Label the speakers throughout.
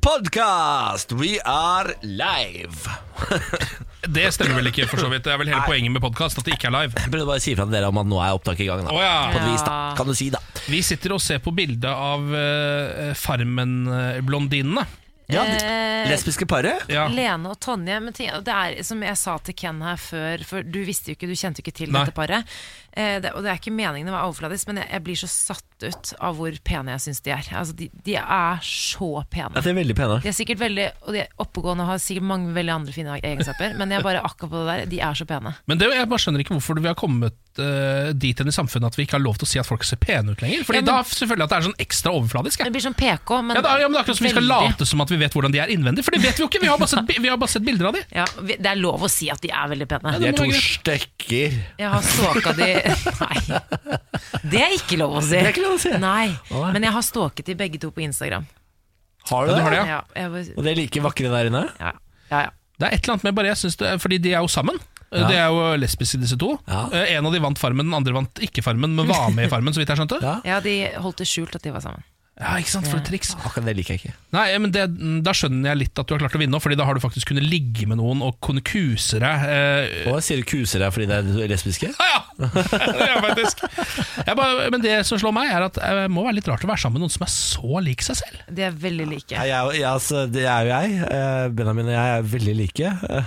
Speaker 1: podcast! We are live!
Speaker 2: Det stemmer vel ikke, for så vidt. Det er vel hele poenget med podkast, at det ikke er live.
Speaker 1: Jeg prøvde bare å si fra til dere om at nå er opptaket i gang. da
Speaker 2: Å ja.
Speaker 1: På et vis, da. Kan du si, da.
Speaker 2: Vi sitter og ser på bildet av eh, Farmen-blondinene.
Speaker 1: Ja,
Speaker 3: Eh,
Speaker 1: lesbiske paret?
Speaker 2: Ja.
Speaker 3: Lene og Tonje, men ting- det er som jeg sa til Ken her før, for du visste jo ikke, du kjente jo ikke til
Speaker 2: Nei.
Speaker 3: dette paret. Eh, det, og det er ikke meningen å være overfladisk, men jeg, jeg blir så satt ut av hvor pene jeg syns de er. Altså, de, de er så
Speaker 1: Ja,
Speaker 3: pene.
Speaker 1: de er veldig pene.
Speaker 3: De er sikkert veldig og de er oppegående og har sikkert mange veldig andre fine egenskaper, men jeg bare akkurat på det der, de er så pene.
Speaker 2: Men det, jeg bare skjønner ikke hvorfor vi har kommet eh, dit hen i samfunnet at vi ikke har lov til å si at folk ser pene ut lenger. Fordi
Speaker 3: Ja, men-
Speaker 2: da selvfølgelig at det er sånn ekstra overfladisk.
Speaker 3: Det
Speaker 2: Jeg.
Speaker 3: blir sånn PK, men
Speaker 2: Ja, det er, ja, men det er akkurat som vi skal
Speaker 3: veldig.
Speaker 2: late som at vi vet hvordan de er innvendig, for det vet vi jo ikke. Vi har bare sett, bi- vi har bare sett bilder av de.
Speaker 3: Ja, vi- det er lov å si at de er veldig pene.
Speaker 1: De
Speaker 2: det
Speaker 1: er
Speaker 2: må
Speaker 1: to
Speaker 2: være
Speaker 1: stykker.
Speaker 3: Jeg har stalka de Nei. Det er ikke lov å si.
Speaker 1: Det er ikke lov å si.
Speaker 3: Nei. Men jeg har stalket de begge to på Instagram.
Speaker 1: Har
Speaker 2: Ja, du har det,
Speaker 1: det?
Speaker 2: ja.
Speaker 3: Ja, jeg var,
Speaker 1: Og de er like vakre der inne?
Speaker 3: ja, ja, ja.
Speaker 2: Det er et eller annet med bare jeg synes det, er- Fordi de er jo sammen.
Speaker 1: Ja.
Speaker 2: De er jo lesbiske, disse to.
Speaker 1: Ja.
Speaker 2: Eh, En av de vant Farmen, den andre vant ikke Farmen, men var med i Farmen, så vidt jeg skjønte.
Speaker 1: Ja.
Speaker 2: Ja,
Speaker 3: ja, de holdt det skjult at de var sammen.
Speaker 2: ikke sant, for et triks
Speaker 1: Akkurat det liker jeg ikke.
Speaker 2: Nei, men det, mm, Da skjønner jeg litt at du har klart å vinne, Fordi da har du faktisk kunnet ligge med noen og kunne kuse deg. Eh,
Speaker 1: Og sier du kuser deg fordi de er lesbiske?
Speaker 2: ah, ja, det er faktisk jeg bare, Men det som slår meg, er at det må være litt rart å være sammen med noen som er så lik seg selv.
Speaker 3: De er veldig like.
Speaker 1: Ja, jeg, jeg, altså, det er jo jeg. Eh, Benjamin og jeg er veldig like. Eh,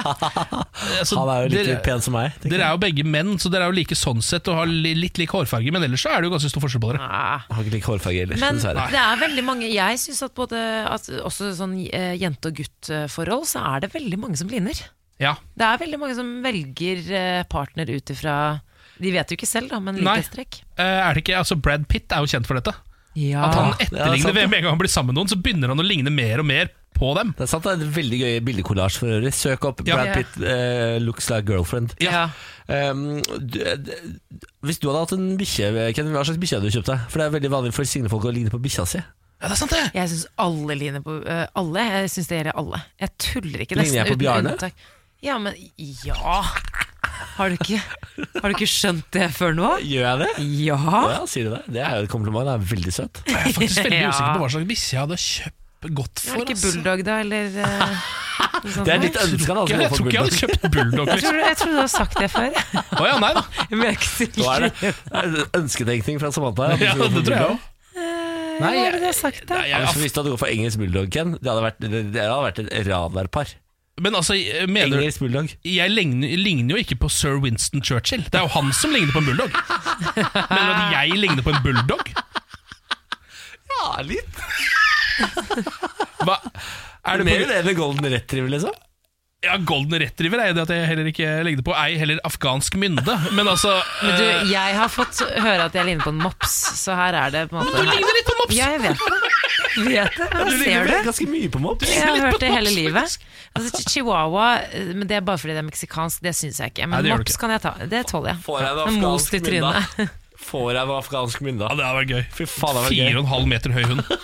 Speaker 2: Altså,
Speaker 1: Han er jo like
Speaker 2: dere-
Speaker 1: pen som meg. tenker
Speaker 2: Dere er jo begge menn, så dere er jo like sånn sett og har li- litt lik hårfarge, men ellers så er det jo ganske stor forskjell på dere.
Speaker 3: Ah.
Speaker 1: Jeg har ikke lik hårfarge heller,
Speaker 3: Men
Speaker 1: dessverre.
Speaker 3: det er veldig mange Jeg syns at både at også sånn eh, jente- og guttforhold, så er det veldig mange som ligner.
Speaker 2: Ja,
Speaker 3: Det er veldig mange som velger eh, partner ut ifra De vet jo ikke selv, da, men
Speaker 2: Nei.
Speaker 3: likhetstrekk.
Speaker 2: Eh, er det ikke, altså Brad Pitt er jo kjent for dette.
Speaker 3: Ja.
Speaker 2: At han
Speaker 1: Ah, Ja, det er
Speaker 2: etterligner
Speaker 1: sant, ja.
Speaker 2: Med en gang han blir sammen med noen, så begynner han å ligne mer og mer på dem.
Speaker 1: Det er sant, det er en veldig gøy bildekollasj for øvrig. Søk opp
Speaker 2: Ja.
Speaker 1: Brad Pitt eh, 'Looks like girlfriend'.
Speaker 3: Ja.
Speaker 1: Um, du, d, hvis du hadde hatt en bikkje, Ken, hva slags bikkje hadde du kjøpt deg? For det er veldig vanlig for single folk å ligne på bikkja si.
Speaker 2: Ja, det er sant det!
Speaker 3: Jeg syns alle ligner på eh, alle. Jeg synes det gjelder alle. Jeg tuller ikke.
Speaker 1: Ligner
Speaker 3: nesten
Speaker 1: jeg på
Speaker 3: uten
Speaker 1: Bjarne?
Speaker 3: unntak. Ja, men ja. Har du, ikke, har du ikke skjønt det før nå?
Speaker 1: Gjør jeg det?
Speaker 3: Ja.
Speaker 1: Ja, sier du det? Det er jo et kompliment. Det er veldig søtt.
Speaker 2: Jeg er faktisk veldig
Speaker 3: Ja.
Speaker 2: usikker på hva slags bikkje jeg hadde kjøpt godt
Speaker 3: Er
Speaker 2: for.
Speaker 3: det ikke
Speaker 2: ass.
Speaker 3: bulldog, da? Eller eh, noe sånt
Speaker 1: Det er
Speaker 3: noe?
Speaker 1: litt altså, ønska, da.
Speaker 2: Ja, jeg tror ikke jeg hadde kjøpt bulldog.
Speaker 3: jeg, tror, jeg tror du har sagt det før.
Speaker 2: Å ja, nei da.
Speaker 3: Men jeg er ikke sikker.
Speaker 1: Nå er det ønsketenkning fra Samantha.
Speaker 2: Ja, det tror jeg òg.
Speaker 3: Eh,
Speaker 2: Nei,
Speaker 3: hva
Speaker 2: jeg-
Speaker 3: er det du har sagt, da?
Speaker 2: Nei, jeg-
Speaker 1: Altså, hvis du hadde gått for engelsk bulldog, Ken, det hadde vært, det det hadde vært et radarpar.
Speaker 2: Men altså, jeg mener
Speaker 1: Engelsk bulldog.
Speaker 2: jeg ligner, ligner jo ikke på sir Winston Churchill. Det er jo han som ligner på en bulldog. Mener du at jeg ligner på en bulldog?
Speaker 1: Ja, litt.
Speaker 2: Hva? Er det
Speaker 1: Mer
Speaker 2: på,
Speaker 1: det enn en golden retriever, liksom.
Speaker 2: ja, Golden retriever er jo det at jeg heller ikke ligner på. Ei heller afghansk mynde. Men altså
Speaker 3: Men
Speaker 2: eh,
Speaker 3: du, jeg har fått høre at jeg ligner på en mops, så her er det på en måte
Speaker 2: Du ligner litt på mops!
Speaker 3: Ja, jeg vet det. Vet det. men ser du?
Speaker 1: ganske mye på mops.
Speaker 3: Jeg har
Speaker 2: litt
Speaker 3: hørt
Speaker 2: på
Speaker 3: det hele
Speaker 2: mops,
Speaker 3: livet. Altså, ch- Chihuahua eh, men Det er bare fordi det er meksikansk, det syns jeg ikke.
Speaker 2: Nei,
Speaker 3: Men
Speaker 2: det gjør du
Speaker 3: mops
Speaker 2: ikke.
Speaker 3: kan jeg ta. Det tåler jeg.
Speaker 1: Får jeg en
Speaker 3: Men most i
Speaker 1: afghansk mynda?
Speaker 3: trynet.
Speaker 1: Får jeg en afghansk mynda?
Speaker 2: Ja, det hadde vært gøy.
Speaker 1: Fy faen, det var
Speaker 2: Fire
Speaker 1: gøy.
Speaker 2: og en halv meter høy hund.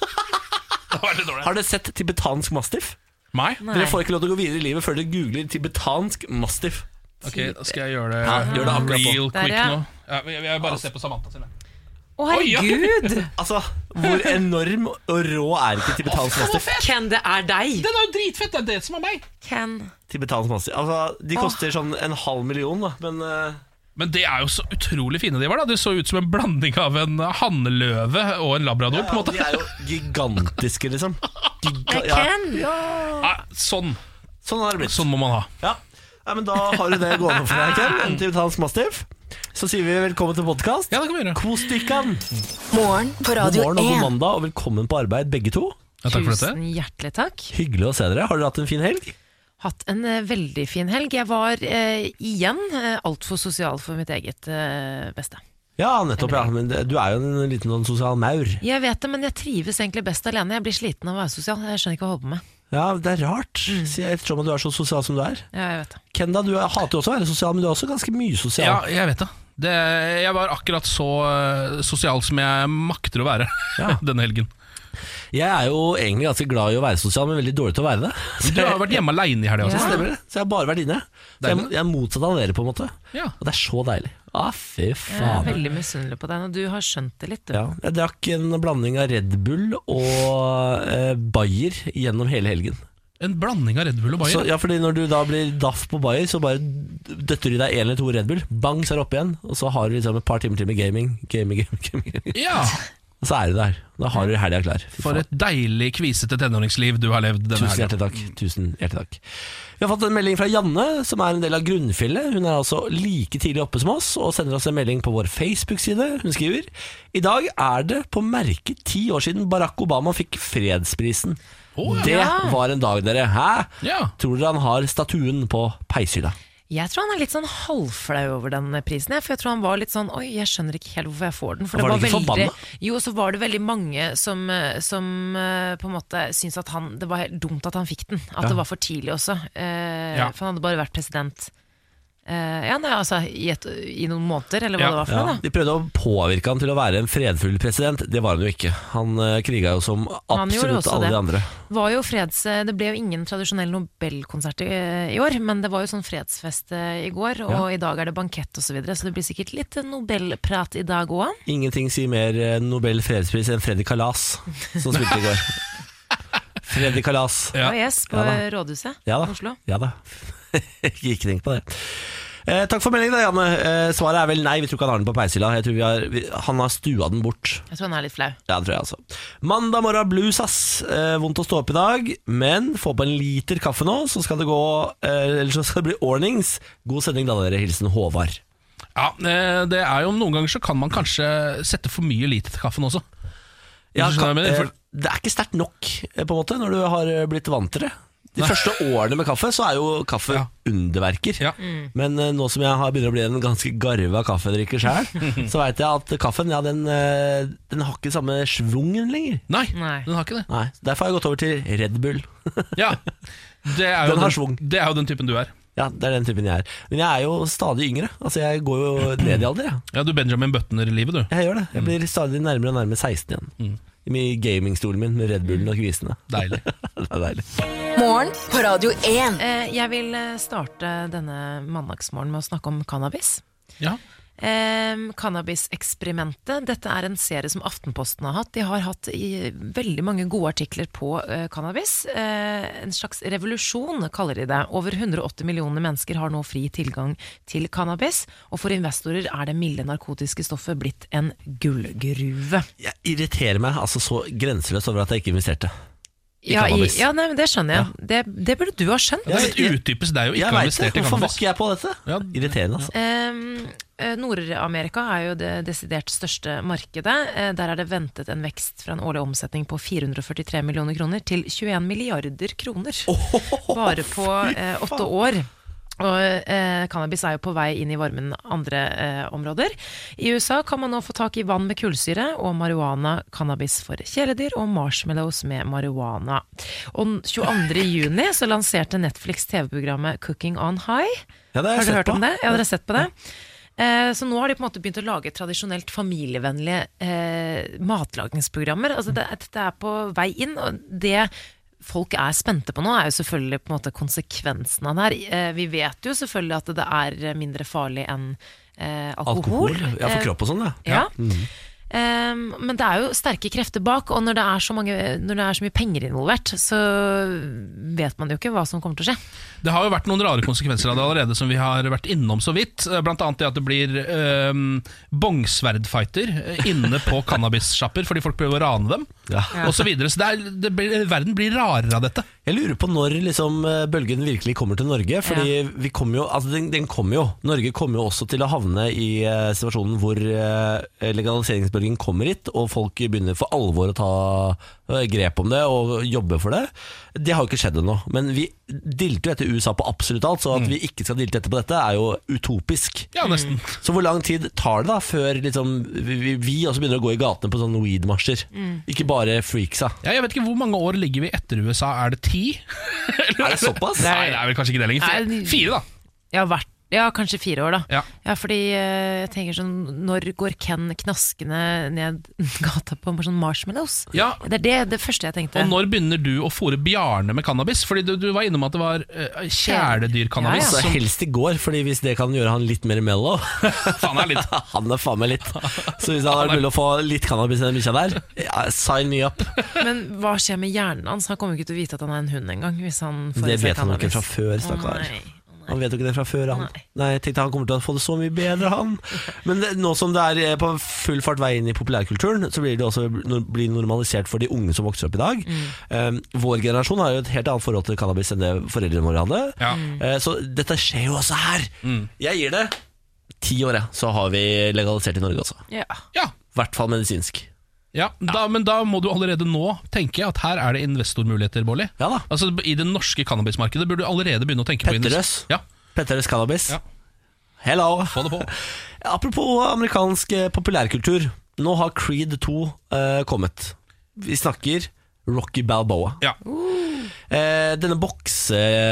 Speaker 2: Det var litt dårlig.
Speaker 1: Har dere sett tibetansk mastiff?
Speaker 2: Meg?
Speaker 3: Nei.
Speaker 1: Dere får ikke lov til å gå videre i livet før dere googler tibetansk mastiff.
Speaker 2: Ok, da skal jeg gjøre det,
Speaker 1: Ja, gjør det akkurat på.
Speaker 2: real
Speaker 3: Der,
Speaker 2: quick
Speaker 3: ja.
Speaker 2: nå. Ja, jeg, jeg bare ser på Samantha sin. jeg.
Speaker 3: Å,
Speaker 2: Oi, ja.
Speaker 3: herregud!
Speaker 1: Altså, hvor enorm og rå er ikke tibetansk mastiff?
Speaker 3: Ken, det er deg!
Speaker 2: Den er jo dritfett! Det er det som er meg.
Speaker 3: Ken.
Speaker 1: Tibetansk mastiff Altså, de koster sånn en halv million, da, men eh,
Speaker 2: Men det er jo så utrolig fine de var. da De så ut som en blanding av en hannløve og en labrador. på en måte
Speaker 1: de er jo gigantiske, liksom. Giga
Speaker 3: Det er
Speaker 1: ja.
Speaker 3: Ken.
Speaker 2: Nei, Sånn
Speaker 1: Sånn har det blitt.
Speaker 2: sånn må man ha.
Speaker 1: Ja. Nei, men da har du det gående for deg, Ken. En tibetansk mastiff. Så sier vi velkommen til podkast.
Speaker 2: Ja, det kan vi gjøre.
Speaker 1: Kos dykkan!
Speaker 4: Morgen på
Speaker 1: God
Speaker 4: Radio
Speaker 1: morgen og god
Speaker 4: 1.
Speaker 1: mandag, og velkommen på arbeid, begge to.
Speaker 2: Ja, takk for dette.
Speaker 3: Tusen hjertelig takk.
Speaker 1: Hyggelig å se dere. Har dere hatt en fin helg?
Speaker 3: Hatt en eh, veldig fin helg. Jeg var eh, igjen eh, altfor sosial for mitt eget eh, beste.
Speaker 1: Ja, nettopp. ja Men det- du er jo en liten sånn sosial maur.
Speaker 3: Jeg vet det, men jeg trives egentlig best alene. Jeg blir sliten av å være sosial. Jeg skjønner ikke hva jeg holder på med.
Speaker 1: Ja, Det er rart,
Speaker 2: Mm.
Speaker 1: sier jeg, ettersom at du er så sosial som du er.
Speaker 3: Ja, jeg vet det.
Speaker 1: Kenda, du er- hater jo også å være sosial, men du er også ganske mye sosial.
Speaker 2: Ja, jeg vet det. det. Jeg var akkurat så eh, sosial som jeg makter å være
Speaker 1: Ja.
Speaker 2: denne helgen.
Speaker 1: Jeg er jo egentlig ganske glad i å være sosial, men veldig dårlig til å være det. Så
Speaker 2: Du har
Speaker 1: jeg,
Speaker 2: jo vært hjemme aleine i helga.
Speaker 1: det
Speaker 2: altså.
Speaker 1: stemmer det. Så jeg har bare vært inne. Så jeg,
Speaker 2: Deilig.
Speaker 1: jeg er motsatt av dere, på en måte.
Speaker 2: Ja.
Speaker 1: Og det er så deilig. Ah, fy
Speaker 3: Jeg er
Speaker 1: faen.
Speaker 3: veldig misunnelig på deg, og du har skjønt det litt. Du.
Speaker 1: Ja, jeg drakk en blanding av Red Bull og eh, Bayer gjennom hele helgen.
Speaker 2: En blanding av Red Bull og
Speaker 1: Så,
Speaker 2: Bayer.
Speaker 1: ja, fordi Når du da blir daff på Bayer, så bare døtter de deg én eller to Red Bull. Bang, så er du oppe igjen. Og så har du liksom et par timer til med gaming. Gaming, gaming, gaming, gaming.
Speaker 2: Ja,
Speaker 1: Og så er du der. Da har du helga klar. Fy
Speaker 2: For
Speaker 1: faen.
Speaker 2: et deilig, kvisete tenåringsliv du har levd denne
Speaker 1: Tusen
Speaker 2: helga.
Speaker 1: hjertelig takk. Tusen hjertelig takk. Vi har fått en melding fra Janne, som er en del av grunnfjellet. Hun er altså like tidlig oppe som oss, og sender oss en melding på vår Facebook-side. Hun skriver I dag er det på merket ti år siden Barack Obama fikk fredsprisen.
Speaker 2: Å, ja.
Speaker 1: Det var en dag, dere. Hæ?
Speaker 2: Ja.
Speaker 1: Tror dere han har statuen på peishylla?
Speaker 3: Jeg tror han er litt sånn halvflau over den prisen. jeg, For jeg tror han var litt sånn Oi, jeg skjønner ikke helt hvorfor jeg får den. For
Speaker 1: Var
Speaker 3: det
Speaker 1: han
Speaker 3: var
Speaker 1: ikke
Speaker 3: veldig,
Speaker 1: forbanna?
Speaker 3: jo, så var det veldig mange som, eh, som eh, på en måte syntes at han Det var helt dumt at han fikk den. At det var for tidlig også. Eh,
Speaker 2: Ja.
Speaker 3: For han hadde bare vært president eh, ja, nei, altså, i, et, i noen måneder, eller hva
Speaker 2: Ja.
Speaker 3: det var for
Speaker 1: Ja,
Speaker 3: noe. da
Speaker 1: de prøvde å påvirke han til å være en fredfull president. Det var han jo ikke. Han eh, kriga jo som
Speaker 3: Han gjorde
Speaker 1: absolutt
Speaker 3: også
Speaker 1: alle
Speaker 3: det.
Speaker 1: de andre.
Speaker 3: var jo freds, eh, det ble jo ingen tradisjonell nobelkonsert i, i år, men det var jo sånn fredsfest eh, i går, og i dag er det bankett osv., så, videre, så det blir sikkert litt nobelprat i dag òg.
Speaker 1: Ingenting sier mer eh, Nobel fredspris enn Freddy Kalas, som spilte i går. Freddy Kalas.
Speaker 2: Ja.
Speaker 3: Og yes, på
Speaker 1: Ja da.
Speaker 3: rådhuset
Speaker 1: Ja da.
Speaker 3: Oslo.
Speaker 1: Ja da. Ikke ikke tenk på det. Eh, takk for meldingen, da, Janne. Eh, svaret er vel nei, vi tror ikke han har den på peishylla. Jeg tror vi har, vi, han har stua den bort.
Speaker 3: Jeg tror han er litt flau.
Speaker 1: Ja, det tror jeg altså. Mandag morgen blues, ass. Eh, vondt å stå opp i dag, men få på en liter kaffe nå, så skal det gå eh, Eller så skal det bli ordnings. God sending da, dere. Hilsen Håvard.
Speaker 2: Ja, eh, det er jo Noen ganger så kan man kanskje sette for mye lite til kaffen også.
Speaker 1: Ja,
Speaker 2: Hvis
Speaker 1: ka-
Speaker 2: du skjønner hva jeg mener,
Speaker 1: eh, det er ikke sterkt nok, eh, på en måte, når du har eh, blitt vant til det. De første årene med kaffe, så er jo kaffe
Speaker 2: Ja.
Speaker 1: underverker.
Speaker 2: Ja.
Speaker 1: Men eh, nå som jeg har begynner å bli en ganske garva kaffedrikker sjøl, så veit jeg at kaffen ja, den, eh, den har ikke samme schwungen lenger.
Speaker 2: Nei,
Speaker 3: Nei.
Speaker 2: den har ikke det.
Speaker 1: Nei, så Derfor har jeg gått over til Red Bull.
Speaker 2: Ja, det er jo
Speaker 1: Den har schwung.
Speaker 2: Det er jo den typen du er.
Speaker 1: Ja, Det er den typen jeg er. Men jeg er jo stadig yngre. Altså Jeg går jo ned i alder, jeg.
Speaker 2: Ja, Du Benjamin Butner-livet, du.
Speaker 1: Jeg gjør det. Jeg blir stadig nærmere og nærmere 16 igjen. I gamingstolen min med Red Bullen og kvisene.
Speaker 2: Mm. Deilig.
Speaker 1: det er deilig.
Speaker 4: Morgen på Radio 1.
Speaker 3: Eh, jeg vil eh, starte denne mandagsmorgen med å snakke om cannabis.
Speaker 2: Ja.
Speaker 3: Eh, Cannabiseksperimentet. Dette er en serie som Aftenposten har hatt. De har hatt i veldig mange gode artikler på eh, cannabis. Eh, en slags revolusjon, kaller de det. Over 180 millioner mennesker har nå fri tilgang til cannabis. Og for investorer er det milde narkotiske stoffet blitt en gullgruve.
Speaker 1: Jeg irriterer meg altså så grenseløst over at jeg ikke investerte. I
Speaker 3: Ja, i,
Speaker 1: cannabis.
Speaker 3: ja nei, men det skjønner jeg. Det, det burde du ha skjønt.
Speaker 2: Det er litt utdypes deg å ikke
Speaker 1: Jeg
Speaker 2: ha
Speaker 1: veit det,
Speaker 2: investert i
Speaker 1: hvorfor var
Speaker 2: cannabis.
Speaker 1: ikke jeg på dette?
Speaker 2: Ja.
Speaker 1: Irriterende, altså.
Speaker 3: Ehm, eh, Nord-Amerika er jo det desidert største markedet. Eh, Der er det ventet en vekst fra en årlig omsetning på 443 millioner kroner til 21 milliarder kroner. Bare på eh, åtte år. Og eh, cannabis er jo på vei inn i varmen andre eh, områder. I USA kan man nå få tak i vann med kullsyre og marihuana, cannabis for kjæledyr og marshmallows med marihuana. Og 22. juni så lanserte Netflix TV-programmet Cooking on High.
Speaker 1: Ja, det har jeg
Speaker 3: Har du
Speaker 1: sett
Speaker 3: hørt
Speaker 1: på.
Speaker 3: om det? Ja, dere har sett på det? Eh, Så nå har de på en måte begynt å lage tradisjonelt familievennlige eh, matlagingsprogrammer. Altså det, dette er på vei inn, og det folk er spente på nå, er jo selvfølgelig på en måte konsekvensen av det her. Eh, Vi vet jo selvfølgelig at det er mindre farlig enn eh, alkohol.
Speaker 1: Alkohol? Ja,
Speaker 3: Eh,
Speaker 1: for kropp og sånn, ja.
Speaker 3: ja. Ehm, men det er jo sterke krefter bak, og når det, er så mange, når det er så mye penger involvert, så vet man jo ikke hva som kommer til å skje.
Speaker 2: Det har jo vært noen rare konsekvenser av det allerede, som vi har vært innom så vidt. Eh, Blant annet det at det blir øhm, bongsverdfighter eh, inne på cannabissjapper fordi folk prøver å rane dem,
Speaker 1: Ja.
Speaker 2: og osv. Så, videre. så det er, det blir, verden blir rarere av dette.
Speaker 1: Jeg lurer på når liksom, eh, bølgen virkelig kommer til Norge. Fordi vi kommer jo, altså den, den kommer jo. Norge kommer jo også til å havne i eh, situasjonen hvor eh, legaliseringsbølgen kommer hit, og folk begynner for alvor å ta eh, grep om det og jobbe for det. Det har jo ikke skjedd ennå. Men vi dilter jo etter USA på absolutt alt, så at vi ikke skal dilte etter på dette, er jo utopisk.
Speaker 2: Ja, nesten.
Speaker 1: Så hvor lang tid tar det da før liksom, vi, vi- vi også begynner å gå i gatene på sånne weed-marsjer? Ikke bare freaksa.
Speaker 2: Ja, jeg vet ikke Hvor mange år ligger vi etter USA? Er det ti?
Speaker 1: Er det såpass?
Speaker 2: Nei, det er vel kanskje ikke det lenger.
Speaker 3: Nei,
Speaker 2: Fire, da.
Speaker 3: Ja, hvert Ja, kanskje fire år, da.
Speaker 2: Ja.
Speaker 3: fordi eh, jeg tenker sånn Når går Ken knaskende ned gata på sånn marshmallows?
Speaker 2: Ja,
Speaker 3: Det er det, det første jeg tenkte.
Speaker 2: Og når begynner du å fôre Bjarne med cannabis? Fordi du, du var innom at det var uh, kjæledyrcannabis.
Speaker 3: Ja,
Speaker 1: Så helst i går, Fordi hvis det kan gjøre han litt mer mellow
Speaker 2: som- Faen, det er litt
Speaker 1: Han er faen meg litt Så hvis det hadde vært mulig å få litt cannabis i den bikkja der, ja, sign me up.
Speaker 3: Men hva skjer med hjernen hans? Han kommer jo ikke til å vite at han er en hund engang. Hvis han får
Speaker 1: Det
Speaker 3: i seg
Speaker 1: vet han jo ikke
Speaker 3: cannabis.
Speaker 1: fra før,
Speaker 3: Å,
Speaker 1: stakkar.
Speaker 3: nei.
Speaker 1: Han vet jo ikke det fra før, han.
Speaker 3: Nei.
Speaker 1: Nei, jeg tenkte han kommer til å få det så mye bedre, han. Men det, nå som det er eh, på full fart vei inn i populærkulturen, så blir det også no- blir normalisert for de unge som vokser opp i dag. Eh, vår generasjon har jo et helt annet forhold til cannabis enn det foreldrene våre hadde.
Speaker 2: Ja.
Speaker 1: Eh, så dette skjer jo også her. Jeg gir det ti år, jeg, så har vi legalisert i Norge også.
Speaker 3: Ja.
Speaker 2: ja.
Speaker 1: I hvert fall medisinsk.
Speaker 2: Ja, da, Men da må du allerede nå tenke at her er det investormuligheter, Bårli.
Speaker 1: Ja da.
Speaker 2: Altså, I det norske cannabismarkedet burde du allerede begynne å tenke på
Speaker 1: Petterøes.
Speaker 2: invest- Ja,
Speaker 1: Petterøes cannabis.
Speaker 2: Ja.
Speaker 1: Hello!
Speaker 2: få det på.
Speaker 1: Apropos amerikansk eh, populærkultur. Nå har Creed 2 eh, kommet. Vi snakker Rocky Balboa.
Speaker 2: Ja.
Speaker 1: Eh, denne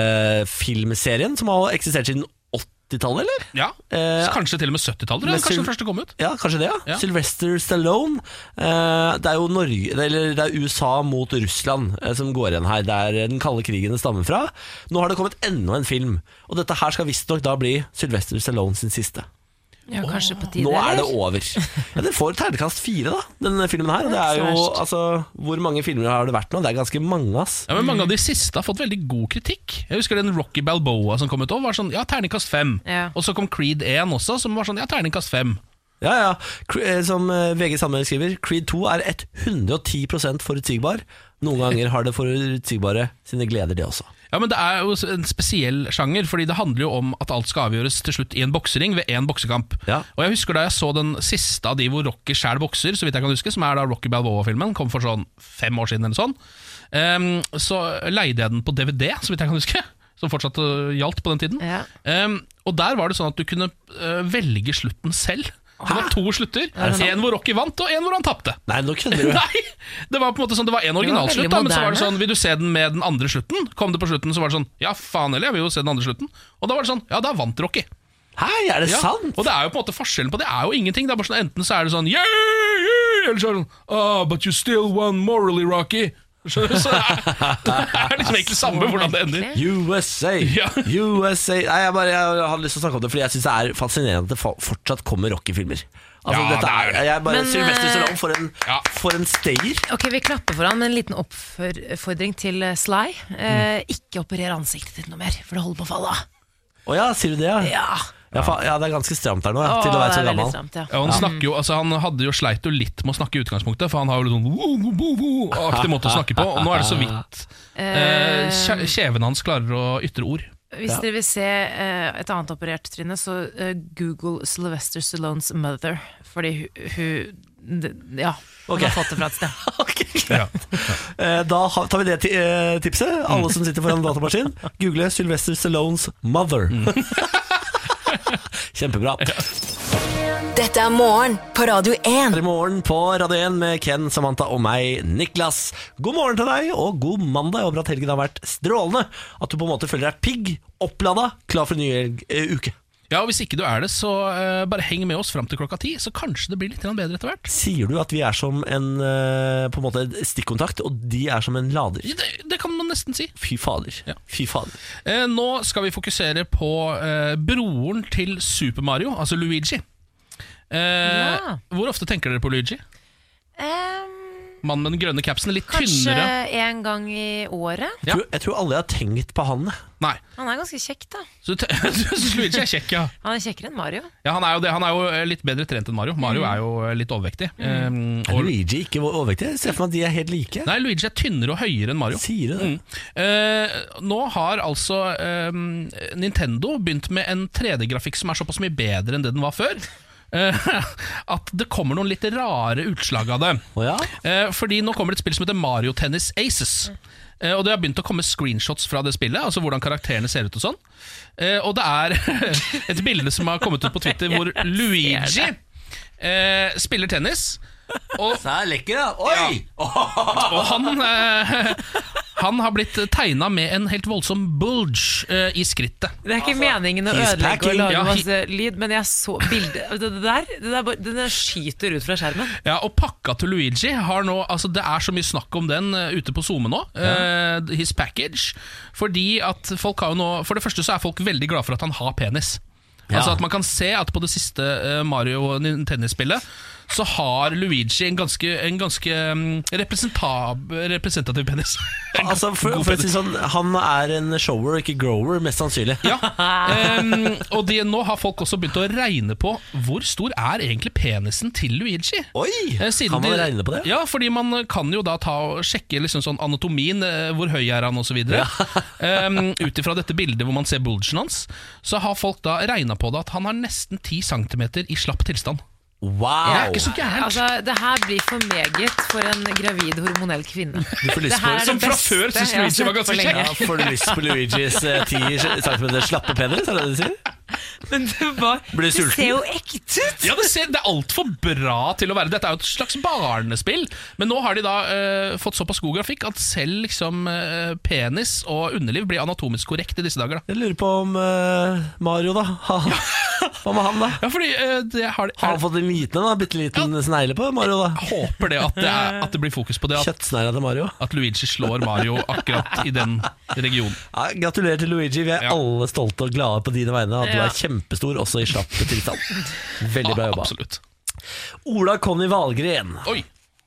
Speaker 1: boksefilmserien som har eksistert siden 80-tallet, eller?
Speaker 2: ja.
Speaker 1: Eh,
Speaker 2: Så kanskje til og med 70-tallet.
Speaker 1: men
Speaker 2: eller Kanskje
Speaker 1: Syl-
Speaker 2: den første kom ut.
Speaker 1: Ja, kanskje det, ja.
Speaker 2: Ja.
Speaker 1: Sylvester Stallone. Eh, det er jo Norge, eller det er USA mot Russland eh, som går igjen her. Det er den kalde krigen det stammer fra. Nå har det kommet enda en film, og dette her skal visstnok da bli Sylvester Stallone sin siste.
Speaker 3: ja, kanskje på tide,
Speaker 1: Nå er det
Speaker 3: eller? over.
Speaker 1: over. Ja, den får ternekast fire, da, denne filmen her. Og det er
Speaker 3: Ja,
Speaker 1: jo,
Speaker 3: så verst.
Speaker 1: altså, hvor mange filmer har det vært nå? Det er ganske mange, ass.
Speaker 2: Ja, men Mange av de siste har fått veldig god kritikk. Jeg husker den Rocky Balboa som kom ut òg, var sånn ja, terningkast fem.
Speaker 3: Ja.
Speaker 2: Og så kom Creed 1 også, som var sånn ja, terningkast fem.
Speaker 1: Ja, ja. Cre- eh, Som eh, VG Sandberg skriver, Creed 2 er 110 forutsigbar. Noen ganger har det forutsigbare sine gleder, det også.
Speaker 2: Ja, men Det er jo en spesiell sjanger, Fordi det handler jo om at alt skal avgjøres til slutt i en boksering ved én boksekamp.
Speaker 1: Ja.
Speaker 2: Og Jeg husker da jeg så den siste av de hvor Rocky sjæl bokser, Så vidt jeg kan huske som er da Rocky Balboa-filmen. Kom for sånn fem år siden eller sånn. Ehm, så leide jeg den på DVD, så vidt jeg kan huske. Som fortsatt øh, gjaldt på den tiden.
Speaker 3: Ja.
Speaker 2: Ehm, og der var det sånn at du kunne øh, velge slutten selv. Det var to slutter. En hvor Rocky vant, og en hvor han tapte.
Speaker 1: Nei, nå kødder du.
Speaker 2: Nei! Det var på en måte sånn, det var en
Speaker 3: veldig
Speaker 2: originalslutt, da, men så var det
Speaker 3: moderne.
Speaker 2: sånn Vil du se den med den andre slutten? Kom det på slutten, så var det sånn Ja, faen heller, jeg vil jo se den andre slutten. Og da var det sånn Ja, da vant Rocky.
Speaker 1: Hei, er det
Speaker 2: Ja.
Speaker 1: sant?
Speaker 2: Og det er jo på en måte forskjellen på det er jo ingenting. Det er bare sånn, Enten så er det sånn yeah, yeah, Eller så er det sånn Ah, but you still won morally, Rocky. Skjønner du? Så det er, det er liksom egentlig samme hvordan det ender.
Speaker 3: merkelig.
Speaker 1: USA!
Speaker 2: Ja.
Speaker 1: USA Nei, jeg, bare, jeg hadde lyst til å snakke om det, fordi jeg syns det er fascinerende at det fa- fortsatt kommer rockefilmer. Altså,
Speaker 2: Ja,
Speaker 1: dette
Speaker 2: det er
Speaker 1: er,
Speaker 2: det.
Speaker 1: jeg bare,
Speaker 3: Men,
Speaker 1: Sylvester
Speaker 3: eh,
Speaker 1: Stallone, for en,
Speaker 2: Ja.
Speaker 1: for en stayer.
Speaker 3: Ok, Vi klapper for han med en liten oppfordring til eh, Sly. Eh,
Speaker 2: Mm.
Speaker 3: Ikke operer ansiktet ditt noe mer, for det holder på å falle av.
Speaker 1: Å ja, sier du det, ja? Ja,
Speaker 3: Ja.
Speaker 1: fa- ja det er ganske stramt her nå, ja,
Speaker 3: Å,
Speaker 1: til å være
Speaker 3: det
Speaker 1: så
Speaker 3: er veldig
Speaker 1: gammel.
Speaker 3: stramt, ja.
Speaker 2: Ja, han, snakker jo, altså han hadde jo sleit jo litt med å snakke i utgangspunktet, for han har jo litt sånn wo- wo- wo- wo- aktig måte å snakke på. Og nå er det så vidt eh, kje- kjeven hans klarer å ytre ord.
Speaker 3: Hvis dere vil se eh, et annet operert trinne, så eh, google Sylvester Stallones mother. Fordi hun, hun d- Ja, hun
Speaker 1: Ok.
Speaker 3: har fått det fra et sted.
Speaker 1: Ok, greit. Eh, Da ha- tar vi det ti- eh,
Speaker 3: Mm.
Speaker 1: tipset. Alle som sitter foran datamaskin, google Sylvester Stallones mother.
Speaker 3: Mm.
Speaker 1: Kjempebra.
Speaker 4: Dette er morgen på Radio 1.
Speaker 1: I morgen på Radio 1 med Ken, Samantha og meg, Niklas. God morgen til deg, og god mandag. Jeg håper at helgen har vært strålende. At du på en måte føler deg pigg, opplada, klar for en ny helg- eh, uke.
Speaker 2: Ja, og Hvis ikke du er det, så eh, bare heng med oss fram til klokka ti, så kanskje det blir litt grann bedre etter hvert.
Speaker 1: Sier du at vi er som en eh, på en måte stikkontakt, og de er som en lader?
Speaker 2: Det, det kan man nesten si.
Speaker 1: Fy fader.
Speaker 2: Ja.
Speaker 1: Fy fader.
Speaker 2: Eh, nå skal vi fokusere på eh, broren til Super Mario, altså Luigi. Eh,
Speaker 3: Ja.
Speaker 2: Hvor ofte tenker dere på Luigi?
Speaker 3: Em,
Speaker 2: Mannen med den grønne capsen, litt
Speaker 3: kanskje
Speaker 2: tynnere.
Speaker 3: en gang i året.
Speaker 1: Jeg
Speaker 2: Ja.
Speaker 1: tror- Jeg tror alle jeg har tenkt på han. jeg.
Speaker 2: Nei,
Speaker 3: Han er ganske kjekk, da.
Speaker 2: så du te- du synes Luigi er kjekk, ja.
Speaker 3: Han er kjekkere enn Mario.
Speaker 2: Ja, han er, jo det, han er jo eh, litt bedre trent enn Mario.
Speaker 3: Mm.
Speaker 2: Mario er jo eh, litt overvektig. Eh,
Speaker 1: Er
Speaker 2: og,
Speaker 1: Luigi ikke overvektig? Jeg Ser for meg at de er helt like.
Speaker 2: nei, Mm. Luigi er tynnere og høyere enn Mario.
Speaker 1: Sier du det?
Speaker 2: Eh, nå har altså eh, Nintendo begynt med en 3D-grafikk som er såpass mye bedre enn det den var før. eh, at det kommer noen litt rare utslag av det.
Speaker 1: Å ja?
Speaker 2: Eh, fordi nå kommer det et spill som heter Mario Tennis Aces. Eh, og Det har begynt å komme screenshots fra det spillet. Altså hvordan karakterene ser ut Og sånn eh, Og det er et bilde som har kommet ut på Twitter, hvor Luigi eh, spiller tennis. Og
Speaker 1: Så er lekker, da. Oi!
Speaker 2: og han, eh, Han har blitt tegna med en helt voldsom bulge eh, i skrittet.
Speaker 3: Det er ikke meningen å
Speaker 1: he's
Speaker 3: Altså, ødelegge og
Speaker 1: packing.
Speaker 2: Ja,
Speaker 3: lage
Speaker 2: he-
Speaker 3: masse lyd, men jeg så bildet Det det der, det der, bare- det der skyter ut fra skjermen.
Speaker 2: Ja, og pakka til Luigi har nå Altså Det er så mye snakk om den eh, ute på SoMe nå. eh, his package. Fordi at folk har jo nå For det første så er folk veldig glad for at han har penis.
Speaker 1: Ja.
Speaker 2: Altså at Man kan se at på det siste eh, Mario Tennis-spillet så har Luigi en ganske, en ganske mm, representab- representativ penis. En
Speaker 1: Altså, for,
Speaker 2: god
Speaker 1: for å
Speaker 2: penis.
Speaker 1: si sånn, Han er en shower, ikke grower, mest sannsynlig.
Speaker 2: Ja, ehm, og de, nå har folk også begynt å regne på hvor stor er egentlig penisen til Luigi.
Speaker 1: Oi!
Speaker 2: Eh, siden
Speaker 1: Kan man
Speaker 2: de-
Speaker 1: regne på det?
Speaker 2: Ja, fordi man eh, kan jo da ta og sjekke liksom sånn anatomien, eh, hvor høy er han osv. Ja. um, Ut ifra dette bildet hvor man ser bulgen hans, så har folk da regna på det at han har nesten 10 cm i slapp tilstand. Det er
Speaker 1: Wow!
Speaker 2: ikke så gærent.
Speaker 3: Altså, Det her blir for meget for en gravid hormonell kvinne.
Speaker 1: Du får lyst
Speaker 3: Det her
Speaker 1: på-
Speaker 3: er det
Speaker 1: som fra
Speaker 3: beste
Speaker 2: før synes
Speaker 3: jeg har sett
Speaker 2: Luigi var ganske
Speaker 3: på lenge.
Speaker 1: Ja, Får du lyst på Luigis eh, 10 cm slappe penis, er det det du sier?
Speaker 3: Men det var
Speaker 1: Blir du
Speaker 3: Det ser
Speaker 1: sulten?
Speaker 3: jo ekte ut!
Speaker 2: Ja, det, ser, det er altfor bra til å være Dette er jo et slags barnespill. Men nå har de da eh, fått såpass god grafikk at selv liksom, eh, penis og underliv blir anatomisk korrekt i disse dager. Da.
Speaker 1: Jeg lurer på om eh, Mario, da. Ha, hva med han, da?
Speaker 2: Ja, fordi eh, det har,
Speaker 1: Har han fått en liten en, da? Bitte liten snegle på Mario, da?
Speaker 2: Jeg håper det at, det er, at det blir fokus på det. At,
Speaker 1: Kjøttsnegla til Mario.
Speaker 2: at Luigi slår Mario akkurat i den regionen.
Speaker 1: Ja, gratulerer til Luigi. Vi er
Speaker 2: Ja.
Speaker 1: alle stolte og glade på dine vegne. At du
Speaker 3: Ja.
Speaker 1: er kjempestor også i slapp tilstand. Veldig bra
Speaker 2: Ah,
Speaker 1: jobba.
Speaker 2: absolutt.
Speaker 1: Ola Conny Valgren.
Speaker 2: Oi,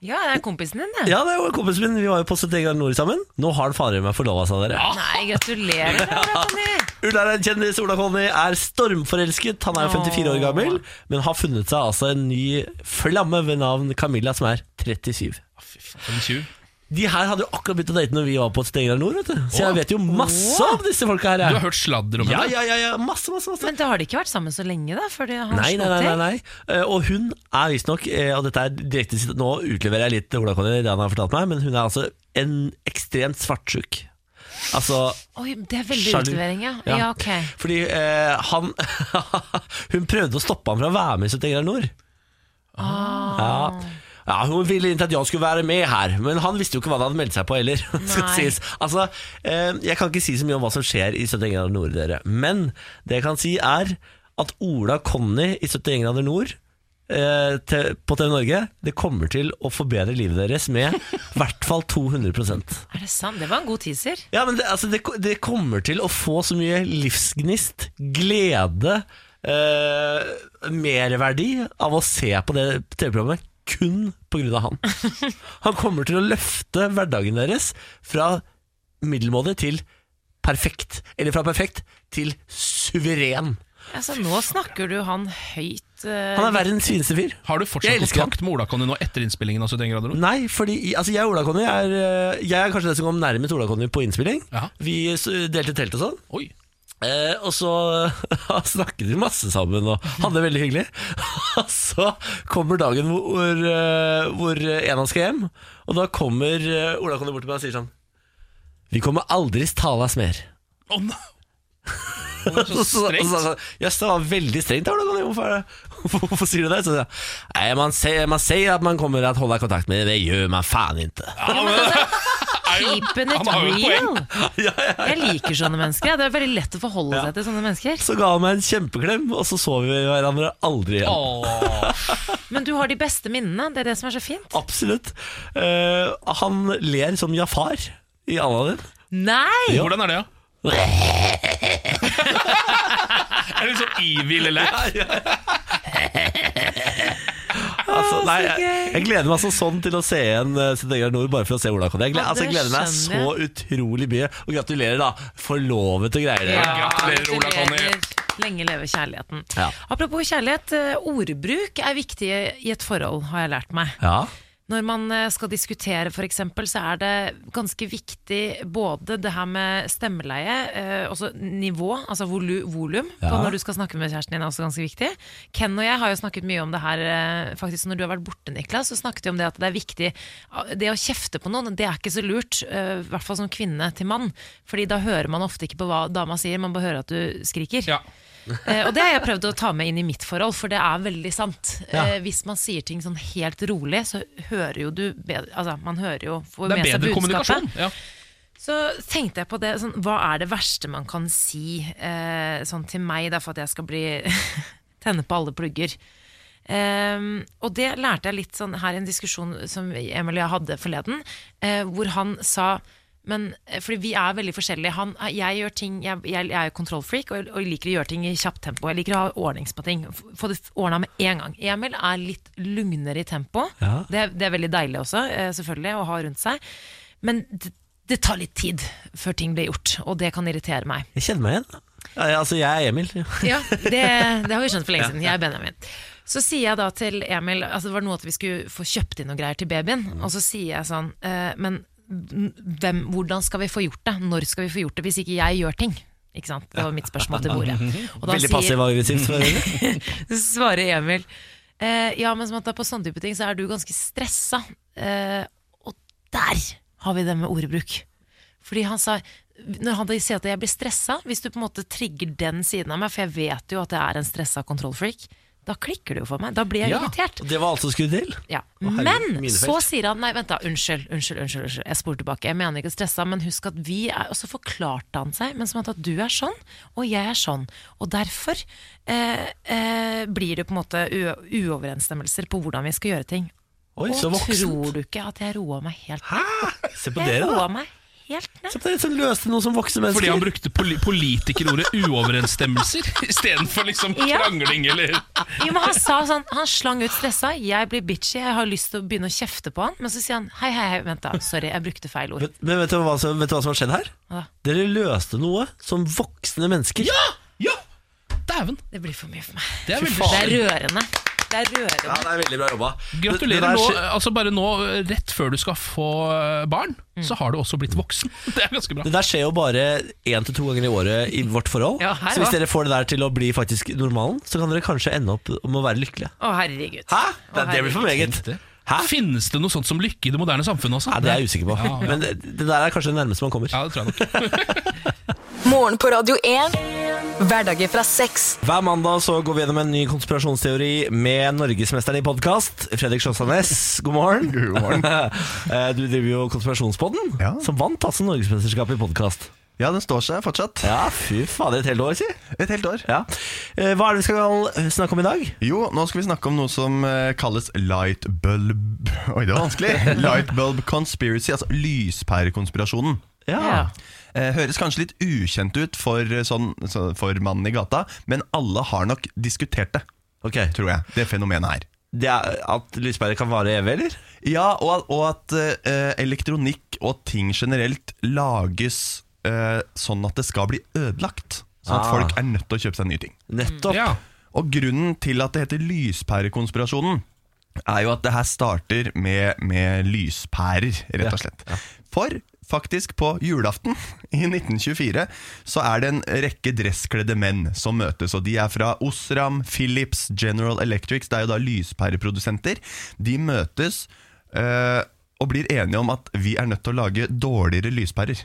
Speaker 3: Ja, det er kompisen din, det.
Speaker 1: Ja, det er jo kompisen min. Vi var jo på 70 grader nord sammen. Nå har han fader meg forlova seg, dere.
Speaker 3: Nei, gratulerer. da, Conny.
Speaker 1: Ulla er en kjendis. Ola Conny er stormforelsket. Han er jo 54 år gammel, men har funnet seg altså en ny flamme ved navn Camilla, som er 37.
Speaker 2: Ah, fy faen, for en tjuv.
Speaker 1: De her hadde jo akkurat begynt å date når vi var på Stegra Nord, vet du. Så
Speaker 2: Å.
Speaker 1: jeg vet jo masse om disse folka her.
Speaker 2: Du
Speaker 1: jeg.
Speaker 2: har hørt sladder om
Speaker 1: Ja,
Speaker 2: henne?
Speaker 1: ja, ja, ja. Masse, masse, masse.
Speaker 3: Men da har de ikke vært sammen så lenge, da? Før de har
Speaker 1: Nei, nei,
Speaker 3: slått
Speaker 1: nei, nei,
Speaker 3: til?
Speaker 1: nei. Eh, Og hun er visstnok, eh, og dette er direkte sitat- Nå utleverer jeg litt Ola Conny, det han har fortalt meg, men hun er altså en ekstremt svartsjuk. Altså
Speaker 3: Oi, det er veldig
Speaker 1: Sjalu.
Speaker 3: utlevering, ja.
Speaker 1: Ja.
Speaker 3: ja. ok.
Speaker 1: Fordi eh, han Hun prøvde å stoppe ham fra å være med i 70 grader nord.
Speaker 3: Ah.
Speaker 1: Ja. ja, Hun ville ikke at jeg skulle være med her, men han visste jo ikke hva han hadde meldt seg på heller. skal
Speaker 3: Nei.
Speaker 1: sies. Altså, eh, Jeg kan ikke si så mye om hva som skjer i 71 grader nord, dere. Men det jeg kan si, er at Ola Conny i 71 grader nord eh, te- på TV Norge Det kommer til å forbedre livet deres med i hvert fall 200
Speaker 3: Er det sant? Det var en god teaser.
Speaker 1: ja, men det, altså, det, det kommer til å få så mye livsgnist, glede, eh, merverdi av å se på det TV-programmet kun pga. han. Han kommer til å løfte hverdagen deres fra middelmådig til perfekt. Eller fra perfekt til suveren.
Speaker 3: Altså, nå snakker du han høyt. eh,
Speaker 1: Han er verdens fineste fyr.
Speaker 2: Har du
Speaker 1: Jeg
Speaker 2: fortsatt
Speaker 1: elsker
Speaker 2: kontakt med Ola Conny nå etter innspillingen? av 71 grader nord?
Speaker 1: Nei, fordi altså jeg og Ola Conny er, eh, jeg er kanskje den som kom nærmest Ola Conny på innspilling.
Speaker 2: Ja.
Speaker 1: Vi s- delte telt og sånn.
Speaker 2: Oi.
Speaker 1: Eh, og så snakket vi masse sammen og hadde det veldig hyggelig. Og så kommer dagen hvor, hvor, eh, hvor en av oss skal hjem, og da kommer eh, Ola kommer bort til meg og sier sånn Vi kommer aldri talas mer.
Speaker 2: Å, no. Det var
Speaker 1: Og så-
Speaker 2: så
Speaker 1: og så sa
Speaker 2: strengt.
Speaker 1: han sånn, Jøss, det var veldig strengt. Ola Conny, hvorfor, er det? hvorfor sier du det? Så sier jeg, Nei, man sier, man sier at man kommer til å holde kontakt med det, det gjør man faen ikke.
Speaker 2: Ja, men,
Speaker 3: altså,
Speaker 2: er jo-
Speaker 3: Keeping it
Speaker 2: han har jo et poeng.
Speaker 3: real! Jeg liker sånne mennesker. ja. Det er veldig lett å forholde seg til sånne mennesker.
Speaker 1: Så ga han meg en kjempeklem, og så så vi hverandre aldri igjen.
Speaker 2: Åh.
Speaker 3: Men du har de beste minnene. Det er det som er så fint.
Speaker 1: Absolutt. Eh, han ler som Jafar i Aladdin.
Speaker 3: Nei!
Speaker 2: Hvordan er det, da? er det sånn evil eller?
Speaker 1: Altså, nei,
Speaker 3: så
Speaker 1: jeg,
Speaker 3: gøy.
Speaker 1: jeg gleder meg altså sånn til å se igjen eh, Sitt eget nord, bare for å se Ola Conny. Jeg, gleder-
Speaker 3: Ja,
Speaker 1: altså, jeg
Speaker 3: det
Speaker 1: gleder meg så
Speaker 3: skjønner
Speaker 1: utrolig mye. Og gratulerer, da. Forlovet og greier.
Speaker 2: Ja. Gratulerer, Ola Conny.
Speaker 3: gratulerer. Lenge leve kjærligheten.
Speaker 1: Ja.
Speaker 3: Apropos kjærlighet, eh, ordbruk er viktig i et forhold, har jeg lært meg.
Speaker 1: Ja.
Speaker 3: Når man eh, skal diskutere for eksempel, så er det ganske viktig både det her med stemmeleie, eh, også nivå, altså volu volum, på
Speaker 1: Ja.
Speaker 3: når du skal snakke med kjæresten din er også ganske viktig. Ken og jeg har jo snakket mye om det her, eh, faktisk når du har vært borte, Niklas, så snakket vi om det at det er viktig, ah, det å kjefte på noen, det er ikke så lurt, eh, i hvert fall som kvinne til mann, fordi da hører man ofte ikke på hva dama sier, man bare hører at du skriker.
Speaker 2: Ja.
Speaker 3: Eh, og det har jeg prøvd å ta med inn i mitt forhold, for det er veldig sant. Eh, hvis man sier ting sånn helt rolig, så hører jo du bedre, altså, man hører jo, får
Speaker 2: Det er
Speaker 3: med seg
Speaker 2: bedre
Speaker 3: budskapet.
Speaker 2: kommunikasjon. Ja.
Speaker 3: Så tenkte jeg på det, sånn, hva er det verste man kan si eh, sånn til meg, da, for at jeg skal bli tenne på alle plugger. Ehm, og det lærte jeg litt sånn her i en diskusjon som Emil og jeg hadde forleden, eh, hvor han sa men, eh, fordi vi er veldig forskjellige. Han, eh, jeg, gjør ting, jeg, jeg, jeg er kontrollfreak og, og liker å gjøre ting i kjapt tempo. Jeg liker å ha ordnings på ting. F- Få det ordna med en gang. Emil er litt lugnere i tempo.
Speaker 1: Ja.
Speaker 3: Det, er- det er veldig deilig også, eh, selvfølgelig, å ha rundt seg. Men det, det tar litt tid før ting blir gjort, og det kan irritere meg.
Speaker 1: Jeg kjenner meg igjen. Ja, ja, Altså, jeg er Emil.
Speaker 3: Ja, det, det har vi skjønt for lenge siden. Jeg er Benjamin. Så sier jeg da til Emil altså Det var noe at vi skulle få kjøpt inn noen greier til babyen. Og så sier jeg sånn eh, Men hvem, hvordan skal vi få gjort det? Når skal vi få gjort det hvis ikke jeg gjør ting? Ikke sant? Det var mitt spørsmål til bordet. Og da
Speaker 1: Veldig
Speaker 3: sier-
Speaker 1: passiv-aggressivt.
Speaker 3: så svarer Emil eh, Ja, men som at det er på sånne type ting Så er du ganske stressa eh, Og der har vi det med ordbruk Fordi han sa Når han da sier at jeg blir stressa Hvis du på en måte trigger den siden av meg For jeg vet jo at jeg er en stressa kontrollfreak Da klikker det jo for meg, da blir jeg
Speaker 2: Ja.
Speaker 3: irritert
Speaker 1: Det var alt som skulle til.
Speaker 3: ja.
Speaker 1: Å, herregud,
Speaker 3: Men
Speaker 1: minefelt.
Speaker 3: så sier han Nei, vent da, unnskyld, unnskyld, unnskyld, unnskyld. Jeg spoler tilbake, jeg mener ikke å stresse Men husk at vi er Og så forklarte han seg Men som at du er sånn, og jeg er sånn Og derfor eh, eh, blir det på en måte u- uoverensstemmelser På hvordan vi skal gjøre ting
Speaker 1: Oi, så
Speaker 3: Og tror
Speaker 1: voksen.
Speaker 3: du ikke at jeg roa meg helt
Speaker 1: Hæ? Se på
Speaker 3: Jeg
Speaker 1: dere, da.
Speaker 3: roa meg helt ned
Speaker 1: Se på dere som løste noe som voksne mennesker.
Speaker 2: Fordi han brukte poli politikerordet uoverensstemmelser istedenfor liksom
Speaker 3: Ja.
Speaker 2: krangling eller
Speaker 3: Jo, men han sa sånn, han slang ut stressa Jeg blir bitchy, jeg har lyst til å begynne å kjefte på han Men så sier han, hei, hei, hei, vent da Sorry, jeg brukte feil ord
Speaker 1: Men, men vet, du hva som, vet du hva som har skjedd her?
Speaker 3: Hva?
Speaker 1: Dere løste noe som voksne mennesker.
Speaker 2: Ja! Ja! Dæven.
Speaker 3: Det blir for mye for meg
Speaker 2: Det er
Speaker 1: Fy
Speaker 2: veldig
Speaker 1: faen.
Speaker 3: Det
Speaker 2: sjukt.
Speaker 3: er rørende. Det er rørende.
Speaker 1: Ja, det er veldig bra jobba.
Speaker 2: Gratulerer nå,
Speaker 1: Det- det der skje-
Speaker 2: altså bare nå, rett før du skal få eh, barn,
Speaker 3: Mm.
Speaker 2: så har du også blitt voksen. Det er ganske bra.
Speaker 1: Det der skjer jo bare én til to ganger i året i vårt forhold.
Speaker 3: Ja, her
Speaker 1: så hvis
Speaker 3: da.
Speaker 1: dere får det der til å bli faktisk normalen, så kan dere kanskje ende opp med å være lykkelige.
Speaker 3: Å, herregud.
Speaker 1: Hæ?
Speaker 3: Å,
Speaker 1: Det, det blir for meget.
Speaker 2: Tenkte.
Speaker 1: Hæ?
Speaker 2: Finnes det noe sånt som lykke i det moderne samfunnet også?
Speaker 1: Nei, det er jeg usikker på.
Speaker 2: Ja, ja.
Speaker 1: Men det, det der er kanskje det nærmeste man kommer.
Speaker 2: Ja, det tror jeg nok.
Speaker 4: Morgen på Radio 1. Hverdager fra seks.
Speaker 1: Hver mandag så går vi gjennom en ny konspirasjonsteori med norgesmesteren i podkast, Fredrik Sjåstadnes. God morgen.
Speaker 5: God morgen.
Speaker 1: Eh, du driver jo Konspirasjonspodden,
Speaker 5: Ja.
Speaker 1: som vant altså norgesmesterskapet i podkast.
Speaker 5: Ja, den står seg fortsatt.
Speaker 1: Ja, fy fader, et helt år, si.
Speaker 5: Et helt år.
Speaker 1: Ja. Eh, Hva er det vi skal eh, snakke om i dag?
Speaker 5: Jo, nå skal vi snakke om noe som eh, kalles light bulb Oi, det var vanskelig. Light bulb conspiracy, altså lyspærekonspirasjonen.
Speaker 3: Ja.
Speaker 5: Eh, høres kanskje litt ukjent ut for, eh, sånn, så, for mannen i gata, men alle har nok diskutert det,
Speaker 1: Ok,
Speaker 5: tror jeg. Det fenomenet her.
Speaker 1: det er At lyspærer kan vare evig, eller?
Speaker 5: Ja, og, og at eh, elektronikk og ting generelt lages eh, sånn at det skal bli ødelagt. Sånn at
Speaker 1: Ah.
Speaker 5: folk er nødt til å kjøpe seg nye ting.
Speaker 1: Nettopp.
Speaker 2: Mm, Ja.
Speaker 5: Og grunnen til at det heter lyspærekonspirasjonen, er jo at det her starter med, med lyspærer, rett og slett. For faktisk på julaften i 1924 så er det en rekke dresskledde menn som møtes. Og de er fra Osram, Philips, General Electric, det er jo da lyspæreprodusenter. De møtes eh, og blir enige om at vi er nødt til å lage dårligere lyspærer.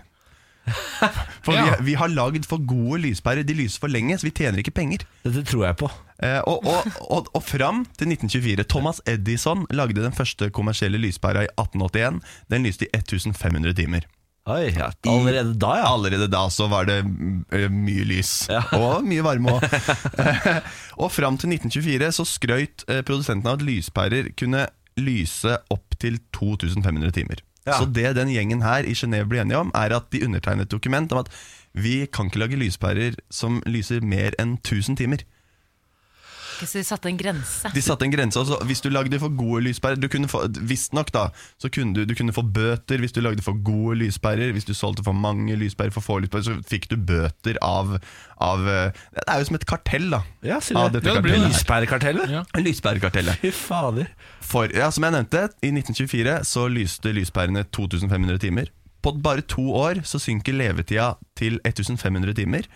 Speaker 5: For
Speaker 2: Ja.
Speaker 5: vi, vi har lagd for gode lyspærer. De lyser for lenge, så vi tjener ikke penger.
Speaker 1: Dette tror jeg på.
Speaker 5: Eh, og, og, og, og fram til 1924. Thomas Edison lagde den første kommersielle lyspæra i 1881. Den lyste i 1500 timer.
Speaker 1: Oi, ja. Allerede da, ja.
Speaker 5: Allerede da så var det mm, eh, mye lys, og mye varme òg. og fram til 1924 så skrøyt eh, produsenten av at lyspærer kunne lyse opp til 2500 timer.
Speaker 1: Ja.
Speaker 5: Så det den gjengen her i Genéve blir enige om, er at de undertegnet et dokument om at vi kan ikke lage lyspærer som lyser mer enn 1000 timer.
Speaker 3: Ok, Så de satte en grense.
Speaker 5: De satte en grense altså, Hvis du lagde for gode lyspærer du kunne få, Visstnok da Så kunne du, du kunne få bøter hvis du lagde for gode lyspærer Hvis du solgte for mange lyspærer For få lyspærer Så fikk du bøter av, av eh, Det er jo som et kartell da
Speaker 1: Ja, sier
Speaker 5: Av
Speaker 1: det.
Speaker 5: dette
Speaker 2: Ja, det blir
Speaker 5: kartellet her.
Speaker 1: Lyspærekartellet?
Speaker 2: Ja.
Speaker 5: Lyspærekartellet
Speaker 1: Fy fader.
Speaker 5: For, ja, som jeg nevnte I 1924 så lyste lyspærene 2500 timer På bare to år så synker levetida til 1500 timer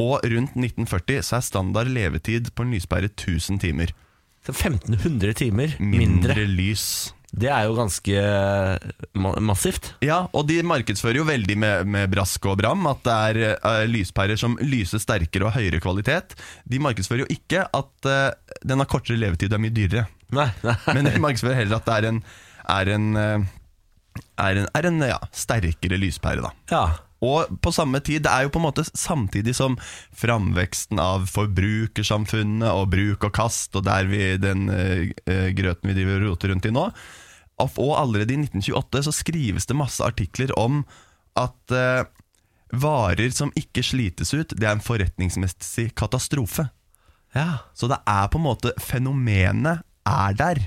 Speaker 5: Og rundt 1940 så er standard levetid på en lyspære 1000 timer
Speaker 1: Så 1500 timer mindre.
Speaker 5: Mindre lys
Speaker 1: Det er jo ganske eh, ma massivt.
Speaker 5: Ja, og de markedsfører jo veldig med, med brask og bram at det er eh, lyspærer som lyser sterkere og høyere kvalitet. De markedsfører jo ikke at eh, den har kortere levetid og er mye dyrere.
Speaker 1: Nei, nei.
Speaker 5: Men de markedsfører heller at det er en, er en, eh, er en, er en ja, sterkere lyspære. da.
Speaker 1: Ja.
Speaker 5: Og på samme tid, det er jo på en måte samtidig som framveksten av forbrukersamfunnet og bruk og kast, og der vi, den eh, eh, grøten vi driver og roter rundt i nå, og og allerede i 1928 så skrives det masse artikler om at eh, varer som ikke slites ut, det er en forretningsmessig katastrofe.
Speaker 1: ja.
Speaker 5: Så det er på en måte fenomenet er der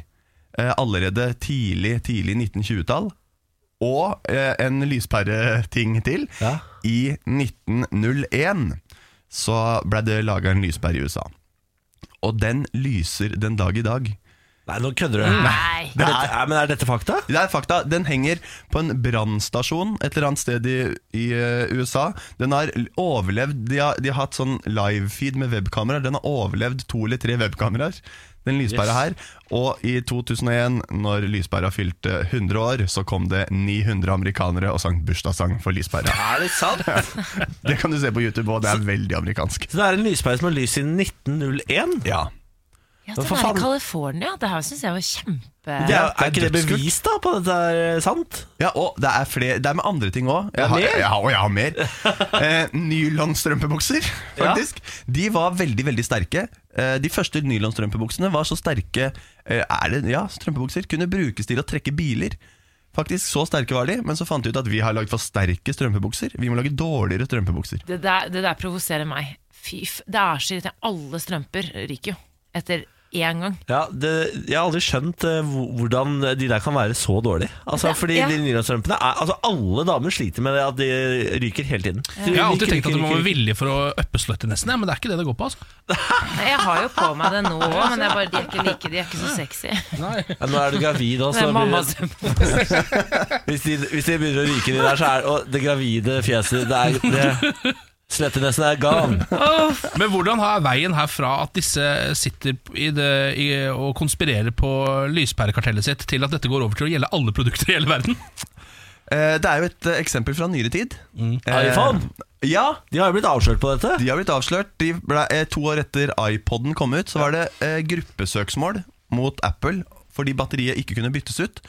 Speaker 5: eh, allerede tidlig, tidlig 1920-tall. Og eh, en lyspæreting til.
Speaker 1: Ja.
Speaker 5: I 1901 så ble det laga en lyspære i USA. Og den lyser den dag i dag.
Speaker 1: Nei, nå kødder du.
Speaker 2: Mm.
Speaker 1: Nei. Er dette, er, men er dette fakta?
Speaker 5: Det er fakta. Den henger på en brannstasjon et eller annet sted i, i eh, USA. Den har l- overlevd De har, de har hatt sånn livefeed med webkameraer. Den har overlevd to eller tre webkameraer. Den lyspæra her. Og i 2001, når lyspæra fylte 100 år, så kom det 900 amerikanere og sang bursdagssang for lyspæra.
Speaker 1: Er det sant? Så
Speaker 5: Det kan du se på YouTube, og det er veldig amerikansk.
Speaker 1: det er en lyspære som har lyst siden 1901?
Speaker 5: Ja.
Speaker 3: Ja,
Speaker 1: Men
Speaker 3: den
Speaker 1: for
Speaker 3: er
Speaker 1: faen-
Speaker 3: i California. Det her syns jeg var kjempe
Speaker 1: Det er,
Speaker 5: det er
Speaker 1: er ikke det
Speaker 5: dødskult.
Speaker 1: bevis da på at dette er eh, sant?
Speaker 5: Ja, og det er, flere, det er med andre ting òg.
Speaker 1: er mer?
Speaker 5: Ja, og jeg har mer. Eh, nylonstrømpebukser, faktisk. De var veldig, veldig sterke. Eh, de første nylonstrømpebuksene var så sterke eh, Er det, Ja, strømpebukser kunne brukes til å trekke biler. Faktisk, Så sterke var de, men så fant de ut at vi har lagd for sterke strømpebukser. Vi må lage dårligere strømpebukser.
Speaker 3: Det der, det der provoserer meg. Fy f... Det er så irriterende. Alle strømper ryker jo etter én gang.
Speaker 1: Ja, det, Jeg har aldri skjønt eh, hvor- hvordan de der kan være så dårlige. Altså,
Speaker 3: Ja,
Speaker 1: fordi
Speaker 3: ja.
Speaker 1: de nylonstrømpene er, altså, Alle damer sliter med det at de ryker hele tiden.
Speaker 2: Jeg har alltid tenkt at du må være villig for å uppe slutty, nesten, ja, men det er ikke det det går på. altså
Speaker 3: Nei, Jeg har jo på meg det nå òg, men det er bare, de er ikke like, de er ikke så sexy.
Speaker 1: Ja, nå er du gravid også.
Speaker 3: Det er
Speaker 1: da blir
Speaker 3: mammas
Speaker 1: det- hvis, de, hvis de begynner å ryke de der, så er og det gravide fjeset Det er det, Slettenesen er gone.
Speaker 2: Men hvordan har veien herfra at disse sitter i det, i, og konspirerer på lyspærekartellet sitt, til at dette går over til å gjelde alle produkter i hele verden?
Speaker 5: Eh, det er jo et eh, eksempel fra nyere tid. Eh,
Speaker 1: Mm. iPhone.
Speaker 5: Ja,
Speaker 1: De har jo blitt avslørt på dette.
Speaker 5: De har blitt avslørt. De ble, eh, to år etter iPoden kom ut, så var det eh, gruppesøksmål mot Apple fordi batteriet ikke kunne byttes ut.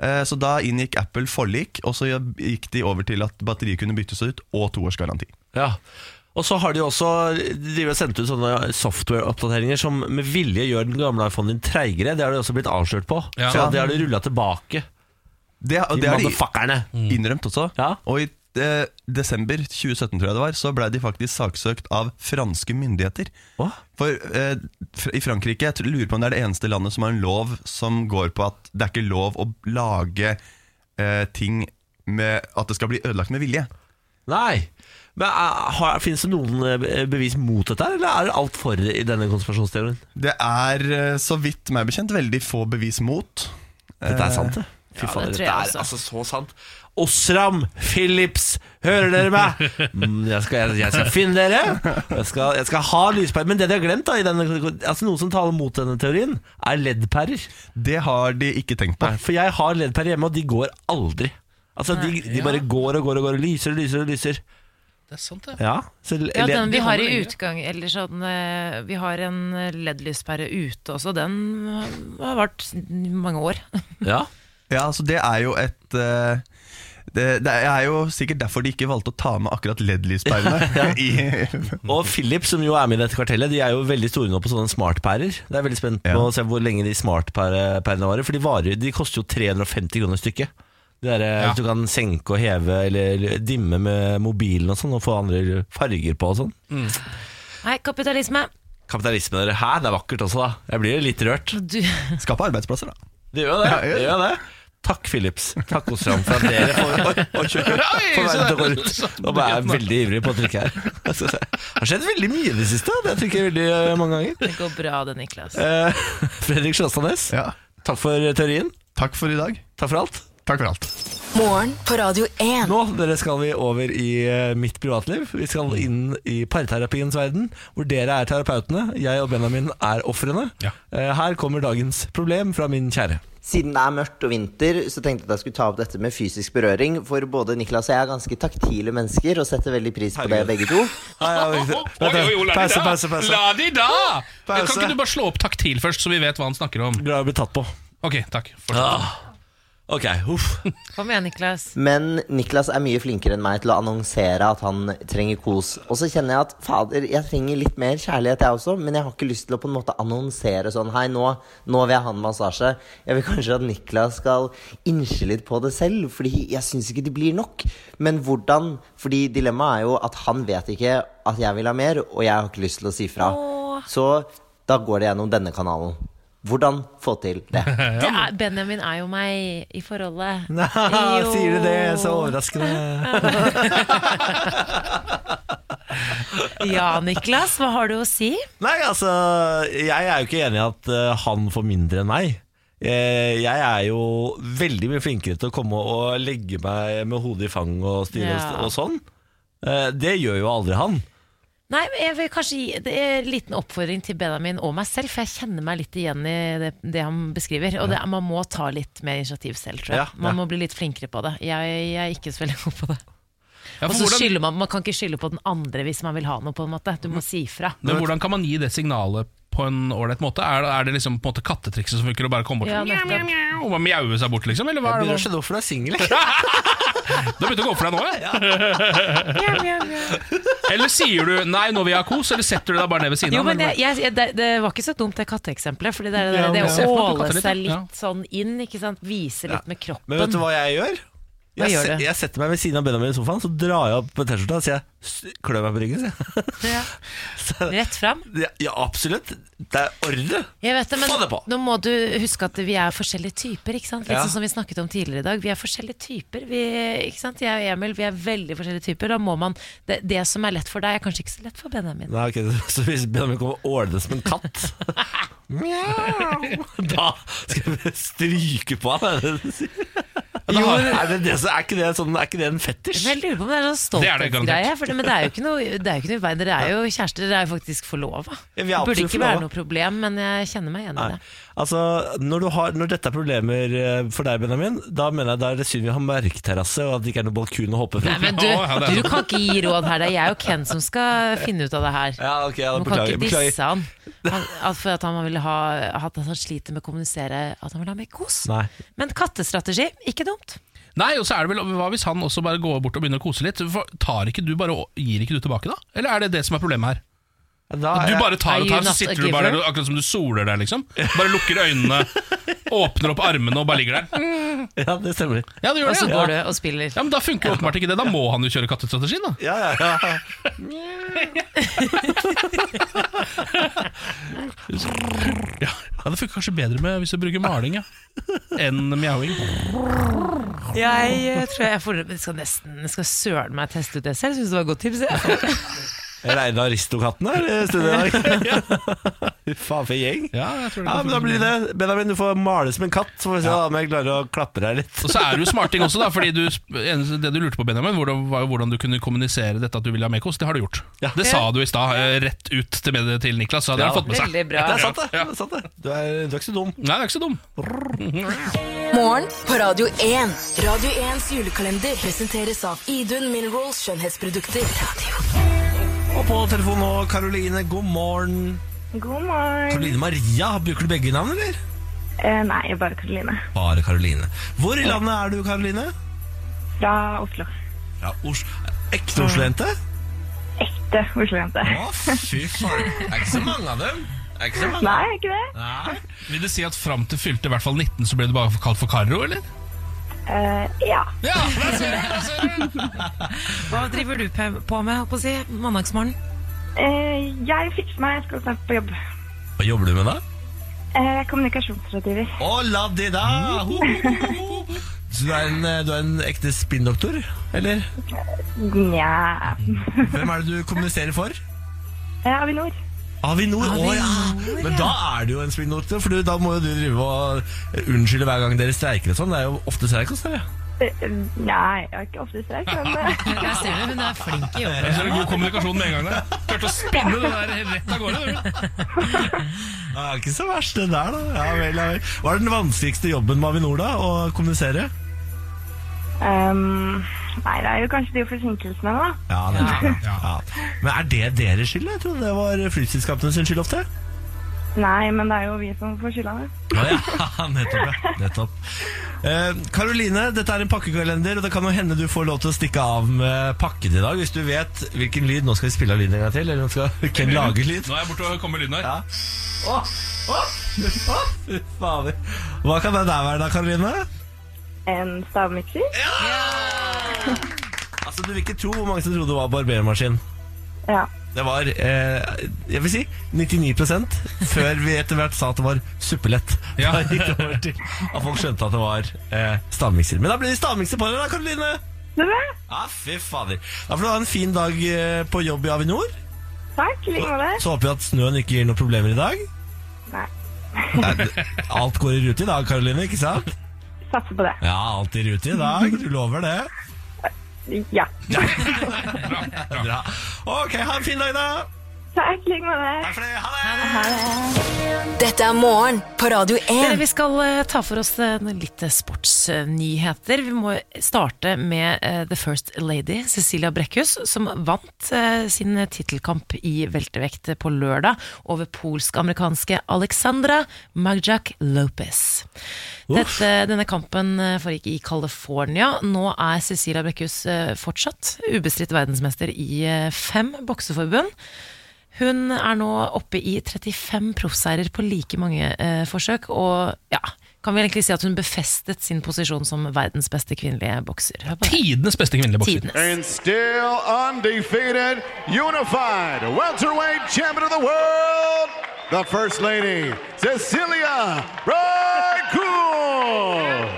Speaker 5: Eh, så da inngikk Apple forlik, og så gikk de over til at batteriet kunne byttes ut, og toårsgaranti.
Speaker 1: Ja. Og så har de også de driver og sendt ut sånne software-oppdateringer som med vilje gjør den gamle iPhonen din treigere. Det har de også blitt avslørt på.
Speaker 2: Ja.
Speaker 1: Så det har de rulla tilbake.
Speaker 5: Det,
Speaker 1: De
Speaker 5: det har de
Speaker 1: motherfuckerne.
Speaker 5: innrømt også.
Speaker 1: Ja.
Speaker 5: Og i eh, desember 2017, tror jeg det var, så ble de faktisk saksøkt av franske myndigheter.
Speaker 1: Hva?
Speaker 5: For eh, fr- i Frankrike, jeg tror- lurer på om det er det eneste landet som har en lov som går på at det er ikke lov å lage eh, ting med at det skal bli ødelagt med vilje.
Speaker 1: Nei. Men er- har- Finnes det noen eh, bevis mot dette, her, eller er det alt for i denne konspirasjonsteorien?
Speaker 5: Det er, eh, så vidt meg bekjent, veldig få bevis mot.
Speaker 1: Dette er sant, det. Fy faen,
Speaker 3: det
Speaker 1: dette
Speaker 3: tror jeg
Speaker 1: er
Speaker 3: også.
Speaker 1: altså så sant. Osram Philips, hører dere meg? Mm, jeg, skal, jeg, jeg skal finne dere. Jeg skal, jeg skal ha lyspærer. Men det de har glemt, da i denne, altså noe som taler mot denne teorien, er LED-pærer.
Speaker 5: Det har de ikke tenkt på.
Speaker 1: For jeg har LED-pærer hjemme, og de går aldri. Altså, de, de bare går og går og går og lyser og lyser og lyser.
Speaker 2: Det er sant, det.
Speaker 1: Ja, så
Speaker 3: Ja, den vi har i
Speaker 2: holder lenge.
Speaker 3: utgang eller sånn, eh, Vi har en LED-lyspære ute også. Den eh, har vart mange år.
Speaker 1: Ja.
Speaker 5: Ja, altså det er jo et eh, det, det er jo sikkert derfor de ikke valgte å ta med akkurat LED-lyspærene. i-
Speaker 1: Og Philips, som jo er med i dette kartellet, de er jo veldig store nå på sånne smartpærer. Det er veldig spent på
Speaker 5: Ja.
Speaker 1: å se hvor lenge de smartpærene varer, for de, varer, de koster jo 350 kroner stykket. Det der, eh,
Speaker 2: Ja.
Speaker 1: Du kan senke og heve eller dimme med mobilen og sånn, og få andre farger på og sånn.
Speaker 3: Nei, kapitalisme.
Speaker 1: Kapitalisme, dere. Hæ, det er vakkert også, da. Jeg blir jo litt rørt.
Speaker 3: Du,
Speaker 5: Skape arbeidsplasser, da.
Speaker 1: Det gjør jo det.
Speaker 5: Ja, ja.
Speaker 1: det, gjør jo det. Takk, Philips. Takk hos Ram for at dere får oi, oi, oi, oi,
Speaker 2: Oi,
Speaker 1: får
Speaker 2: så
Speaker 1: være til
Speaker 2: det-
Speaker 1: å gå rundt. Og bare er veldig ivrig på å trykke her. Altså, Det har skjedd veldig mye i det siste. Det trykker jeg veldig eh, mange ganger.
Speaker 3: det går bra det, Niklas.
Speaker 1: Eh, Fredrik Sjåstadnes,
Speaker 5: Ja.
Speaker 1: takk for teorien.
Speaker 5: Takk for i dag.
Speaker 1: Takk for alt.
Speaker 5: Takk for alt.
Speaker 4: Morgen på Radio 1.
Speaker 1: Nå dere skal vi over i eh, mitt privatliv. Vi skal inn i parterapiens verden, hvor dere er terapeutene. Jeg og Benjamin er ofrene.
Speaker 2: Ja.
Speaker 1: Eh, Her kommer dagens problem fra min kjære.
Speaker 6: Siden det er mørkt og vinter, så tenkte jeg at jeg skulle ta opp dette med fysisk berøring. For både Niklas og jeg er ganske taktile mennesker og setter veldig pris på det,
Speaker 1: Herregud.
Speaker 6: begge to.
Speaker 2: Oi, oi, oi, la de
Speaker 1: Pause,
Speaker 2: da!
Speaker 1: pause, pause.
Speaker 2: La de da!
Speaker 1: Pause.
Speaker 2: Kan ikke du bare slå opp taktil først, så vi vet hva han snakker om?
Speaker 1: Glad jeg ble tatt på.
Speaker 2: Ok, takk. Fortsett.
Speaker 1: Ah. Ok, uff.
Speaker 3: Kom igjen, Niklas.
Speaker 6: Men Niklas er mye flinkere enn meg til å annonsere at han trenger kos. Og så kjenner jeg at fader, jeg trenger litt mer kjærlighet, jeg også. Men jeg har ikke lyst til å på en måte annonsere sånn Hei, nå, nå vil jeg ha en massasje. Jeg vil kanskje at Niklas skal innse litt på det selv, fordi jeg syns ikke det blir nok. Men hvordan? Fordi dilemmaet er jo at han vet ikke at jeg vil ha mer, og jeg har ikke lyst til å si fra. Så da går det gjennom denne kanalen. Hvordan få til det?
Speaker 3: Det er, Benjamin er jo meg i forholdet.
Speaker 1: Nei,
Speaker 3: Jo.
Speaker 1: sier du det? Så overraskende.
Speaker 3: Ja, Niklas, hva har du å si?
Speaker 1: Nei, altså, jeg er jo ikke enig i at eh, han får mindre enn meg. Eh, Jeg er jo veldig mye flinkere til å komme og legge meg med hodet i fang og styre og st-
Speaker 3: Ja.
Speaker 1: og sånn. Eh, Det gjør jo aldri han.
Speaker 3: Nei, men jeg vil kanskje gi det er en liten oppfordring til Benjamin og meg selv, for jeg kjenner meg litt igjen i det, det han beskriver. Og det, er- man må ta litt mer initiativ selv, tror jeg.
Speaker 1: Ja,
Speaker 3: Man
Speaker 1: ja.
Speaker 3: må bli litt flinkere på det. Jeg, jeg er ikke så veldig god på det.
Speaker 2: Ja,
Speaker 3: Og
Speaker 2: for
Speaker 3: så
Speaker 2: hvordan,
Speaker 3: skylder man, man kan ikke skylde på den andre hvis man vil ha noe, på en måte. Du må si fra.
Speaker 2: men hvordan kan man gi det signalet på en ålreit måte? Er, er det liksom på en måte kattetrikset som funker, å bare komme bort
Speaker 3: Ja,
Speaker 2: sånn, mjau,
Speaker 3: nettopp.
Speaker 2: mjau, mjau, og bare mjaue seg bort, liksom? Eller hva er det? nå?
Speaker 1: skjønne hvorfor du er singel.
Speaker 2: Du har begynt å gå for deg nå, ja? Eller sier du 'nei, nå vil jeg ha kos', eller setter du deg bare ned ved siden
Speaker 3: Jo,
Speaker 2: av?
Speaker 3: men
Speaker 2: eller
Speaker 3: jeg, jeg, det, det var ikke så dumt det katteeksempelet. Fordi det, er det,
Speaker 1: Ja,
Speaker 3: der-
Speaker 1: men-
Speaker 3: det å
Speaker 2: Ja.
Speaker 3: åle seg
Speaker 2: Ja.
Speaker 3: litt sånn inn, ikke sant? vise litt med kroppen.
Speaker 1: Men vet du hva jeg gjør?
Speaker 3: Hva
Speaker 1: Jeg,
Speaker 3: gjør
Speaker 1: se-
Speaker 3: du?
Speaker 1: jeg setter meg ved siden av Benjamin i sofaen, så drar jeg opp T-skjorta og sier jeg, "S- klør meg på ryggen. sier jeg.
Speaker 3: Ja. Rett fram.
Speaker 1: Ja, ja, absolutt. Det er ordre.
Speaker 3: Jeg vet det, men
Speaker 1: Få det på.
Speaker 3: nå må du huske at vi er forskjellige typer. ikke sant? Litt
Speaker 1: Ja.
Speaker 3: sånn som vi snakket om tidligere i dag. Vi er forskjellige typer. Vi, ikke sant? Jeg og Emil vi er veldig forskjellige typer. Da må man, det, det som er lett for deg, er kanskje ikke så lett for Benjamin.
Speaker 1: Nei, ok, så- Så hvis Benjamin kommer ålende som en katt Mjau. Da skal vi stryke på han. Er det det du sier?
Speaker 2: da har-
Speaker 1: Er, det det, som- er, ikke det sånn, er ikke det en
Speaker 3: Men
Speaker 1: fetisj?
Speaker 3: jeg lurer på om det er sånn
Speaker 2: Det er
Speaker 3: stolthetsgreie.
Speaker 2: det garantert.
Speaker 3: for det- Men det er jo ikke noe, det er jo ikke noe i veien. Dere er jo kjærester, dere er jo faktisk forlova.
Speaker 1: Ja,
Speaker 3: Det
Speaker 1: vi er
Speaker 3: burde
Speaker 1: absolutt
Speaker 3: ikke være
Speaker 1: forlova.
Speaker 3: noe problem, men jeg kjenner meg igjen i
Speaker 1: Nei.
Speaker 3: det.
Speaker 1: Altså, når, du har, når dette er problemer eh, for deg, Benjamin, da mener jeg da er det synd vi har merketerrasse, og at det ikke er noen balkon å hoppe fra.
Speaker 3: Nei, men
Speaker 2: Å, ja, det
Speaker 3: du,
Speaker 2: er
Speaker 3: du kan ikke gi råd her. Det er jeg og Ken som skal finne ut av det her.
Speaker 1: Ja, ok, ja,
Speaker 3: Man kan
Speaker 1: beklager,
Speaker 3: ikke
Speaker 1: beklager.
Speaker 3: disse han, han at for at han, vil ha, at han sliter med å kommunisere at han vil ha mer kos.
Speaker 1: Nei.
Speaker 3: Men kattestrategi, ikke dumt.
Speaker 2: Nei, og så er det vel Hva hvis han også bare går bort og begynner å kose litt? For Tar ikke du bare og- Gir ikke du tilbake, da? Eller er det det som er problemet her?
Speaker 1: Da
Speaker 3: Ah,
Speaker 2: At
Speaker 1: er
Speaker 2: du
Speaker 1: jeg-
Speaker 2: bare tar
Speaker 3: Are
Speaker 2: og
Speaker 3: you
Speaker 2: tar, så
Speaker 3: not a
Speaker 2: sitter du bare der
Speaker 3: giver?
Speaker 2: akkurat som du soler deg, liksom. Bare lukker øynene, åpner opp armene og bare ligger der.
Speaker 1: Ja, det stemmer.
Speaker 2: Ja, det gjør
Speaker 3: Og
Speaker 2: det.
Speaker 3: så Altså,
Speaker 2: Ja.
Speaker 3: går du og spiller.
Speaker 2: Ja, men Da funker jo åpenbart ikke det. Da må han jo kjøre kattestrategien, da.
Speaker 1: Ja, ja, ja.
Speaker 2: Ja, Det funker kanskje bedre med hvis du bruker maling ja. enn mjauing.
Speaker 3: Jeg eh, tror jeg får, jeg skal nesten jeg skal søren meg teste ut det selv. Syns det var et godt tips. Jeg.
Speaker 1: Jeg regner Aristokatten her i studio i dag. Faen for en gjeng.
Speaker 2: Ja, jeg tror det
Speaker 1: Ja,
Speaker 2: kan
Speaker 1: men da
Speaker 2: funke.
Speaker 1: blir det Benjamin, du får male som en katt, så får vi se da om jeg klarer å klappe deg litt.
Speaker 2: Og så er det jo smarting også, da. Fordi du, eneste- det du lurte på, Benjamin, hvordan- var jo hvordan du kunne kommunisere dette at du ville ha mer kos. Det har du gjort.
Speaker 1: Ja.
Speaker 2: Det sa du i stad, eh, rett ut til, med, til Niklas. Så hadde
Speaker 1: Ja.
Speaker 2: han fått med seg.
Speaker 3: Veldig bra.
Speaker 1: Det er sant, det. det, er sant, det. Du, er, du er ikke så dum.
Speaker 2: Nei, det er ikke så dum.
Speaker 4: Morgen på Radio 1. Radio 1s julekalender presenteres av Idun Minerals skjønnhetsprodukter. Radio.
Speaker 1: Og på telefonen nå, Karoline, god morgen.
Speaker 7: God morgen.
Speaker 1: Karoline Maria, bruker du begge navn, eller?
Speaker 7: Eh, nei, bare Karoline.
Speaker 1: Bare Karoline. Hvor i landet er du, Karoline?
Speaker 7: Fra Oslo.
Speaker 1: Ja, Os Ekte Oslo-jente?
Speaker 7: Ekte Oslo-jente.
Speaker 1: Å, fy faen. Det er ikke så mange av dem. Det er ikke så mange.
Speaker 7: Nei, er ikke det?
Speaker 1: Nei.
Speaker 2: Vil det si at fram til fylte i hvert fall 19, så ble du bare kalt for Karo, eller?
Speaker 7: Eh, ja.
Speaker 2: Ja, der ser du, der ser du.
Speaker 3: Hva driver du pe- på med holdt på å si, mandagsmorgen?
Speaker 7: Eh, jeg fikser meg. Jeg skal snart på jobb.
Speaker 1: Hva jobber du med, da?
Speaker 7: Eh, kommunikasjonsrådgiver.
Speaker 1: Å, la det da! Ho, ho, ho, ho. Så du er en, eh, du er en ekte spinndoktor, eller?
Speaker 7: Nja
Speaker 1: Hvem er det du kommuniserer for?
Speaker 7: eh, Avinor.
Speaker 1: Avinor, å ja! Men da er du jo en spinndoktor, for du, da må jo du drive og unnskylde hver gang dere streiker og sånn. Det er jo ofte streik hos dere.
Speaker 7: Eh, nei, jeg har ikke ofte streik, men eh,
Speaker 3: Jeg ser det, hun er flink i jobben.
Speaker 2: Der ser du god kommunikasjon med en gang. der. Klarte å spinne det der rett av gårde. du.
Speaker 1: Det er ikke så verst, det der, da. Ja vel, ja vel. Hva er den vanskeligste jobben med Avinor, da? Å kommunisere?
Speaker 7: ehm, Nei, det er jo kanskje de forsinkelsene, da.
Speaker 1: Ja, det er det. Ja. Men er det deres skyld? Jeg trodde det var flyselskapene sin skyld ofte.
Speaker 7: Nei, men det er jo vi som får skylda det.
Speaker 1: Å ja, nettopp. ja, nettopp. Eh, Karoline, dette er en pakkekalender, og det kan jo hende du får lov til å stikke av med pakken i dag. Hvis du vet hvilken lyd Nå skal vi spille av lyden en gang til. Eller nå skal Ken lage lyd.
Speaker 2: Nå er jeg borte og kommer lyden her.
Speaker 1: Ja. Å, å, å, fy fader. Hva kan det der være, da, Karoline?
Speaker 7: En stavmikser?
Speaker 1: Altså, Du vil ikke tro hvor mange som trodde det var barbermaskin.
Speaker 7: Ja.
Speaker 1: Det var eh, jeg vil si 99 før vi etter hvert sa at det var suppelett.
Speaker 2: Ja.
Speaker 1: Da gikk det over til at folk skjønte at det var eh, stavmikser. Men da ble det stavmikser på deg, da, Karoline!
Speaker 7: Det er bra.
Speaker 1: Ja, fy fader. Da får du ha en fin dag eh, på jobb i Avinor.
Speaker 7: Takk, i like måte.
Speaker 1: Så håper vi at snøen ikke gir noen problemer i dag.
Speaker 7: Nei,
Speaker 1: Nei, det- Alt går i rute i dag, Karoline, ikke sant?
Speaker 7: satser på det.
Speaker 1: Ja, alt i rute i dag. Du lover det?
Speaker 7: Ja.
Speaker 1: Bra. Ok, ha en fin dag, da.
Speaker 7: Takk, i like måte.
Speaker 1: Takk for det. Ha det.
Speaker 4: Dette er morgen på Radio
Speaker 3: Dere,
Speaker 4: 1.
Speaker 3: vi skal eh, ta for oss eh, noen litt eh, sportsnyheter. Vi må starte med eh, The First Lady, Cecilia Brekkhus, som vant eh, sin tittelkamp i veltevekt på lørdag over polsk-amerikanske Alexandra Magjak Lopez. Dette, denne kampen eh, foregikk i California. Nå er Cecilia Brekkhus eh, fortsatt ubestridt verdensmester i eh, fem bokseforbund. Hun er nå oppe i 35 proffseirer på like mange eh, forsøk, og ja, kan vi egentlig si at hun befestet sin posisjon som verdens beste kvinnelige bokser. Hør på det.
Speaker 2: Tidenes beste kvinnelige bokser.
Speaker 3: Tidenes.
Speaker 8: And still undefeated, unified welterweight champion of the world, the First Lady, Cecilia Raccoon.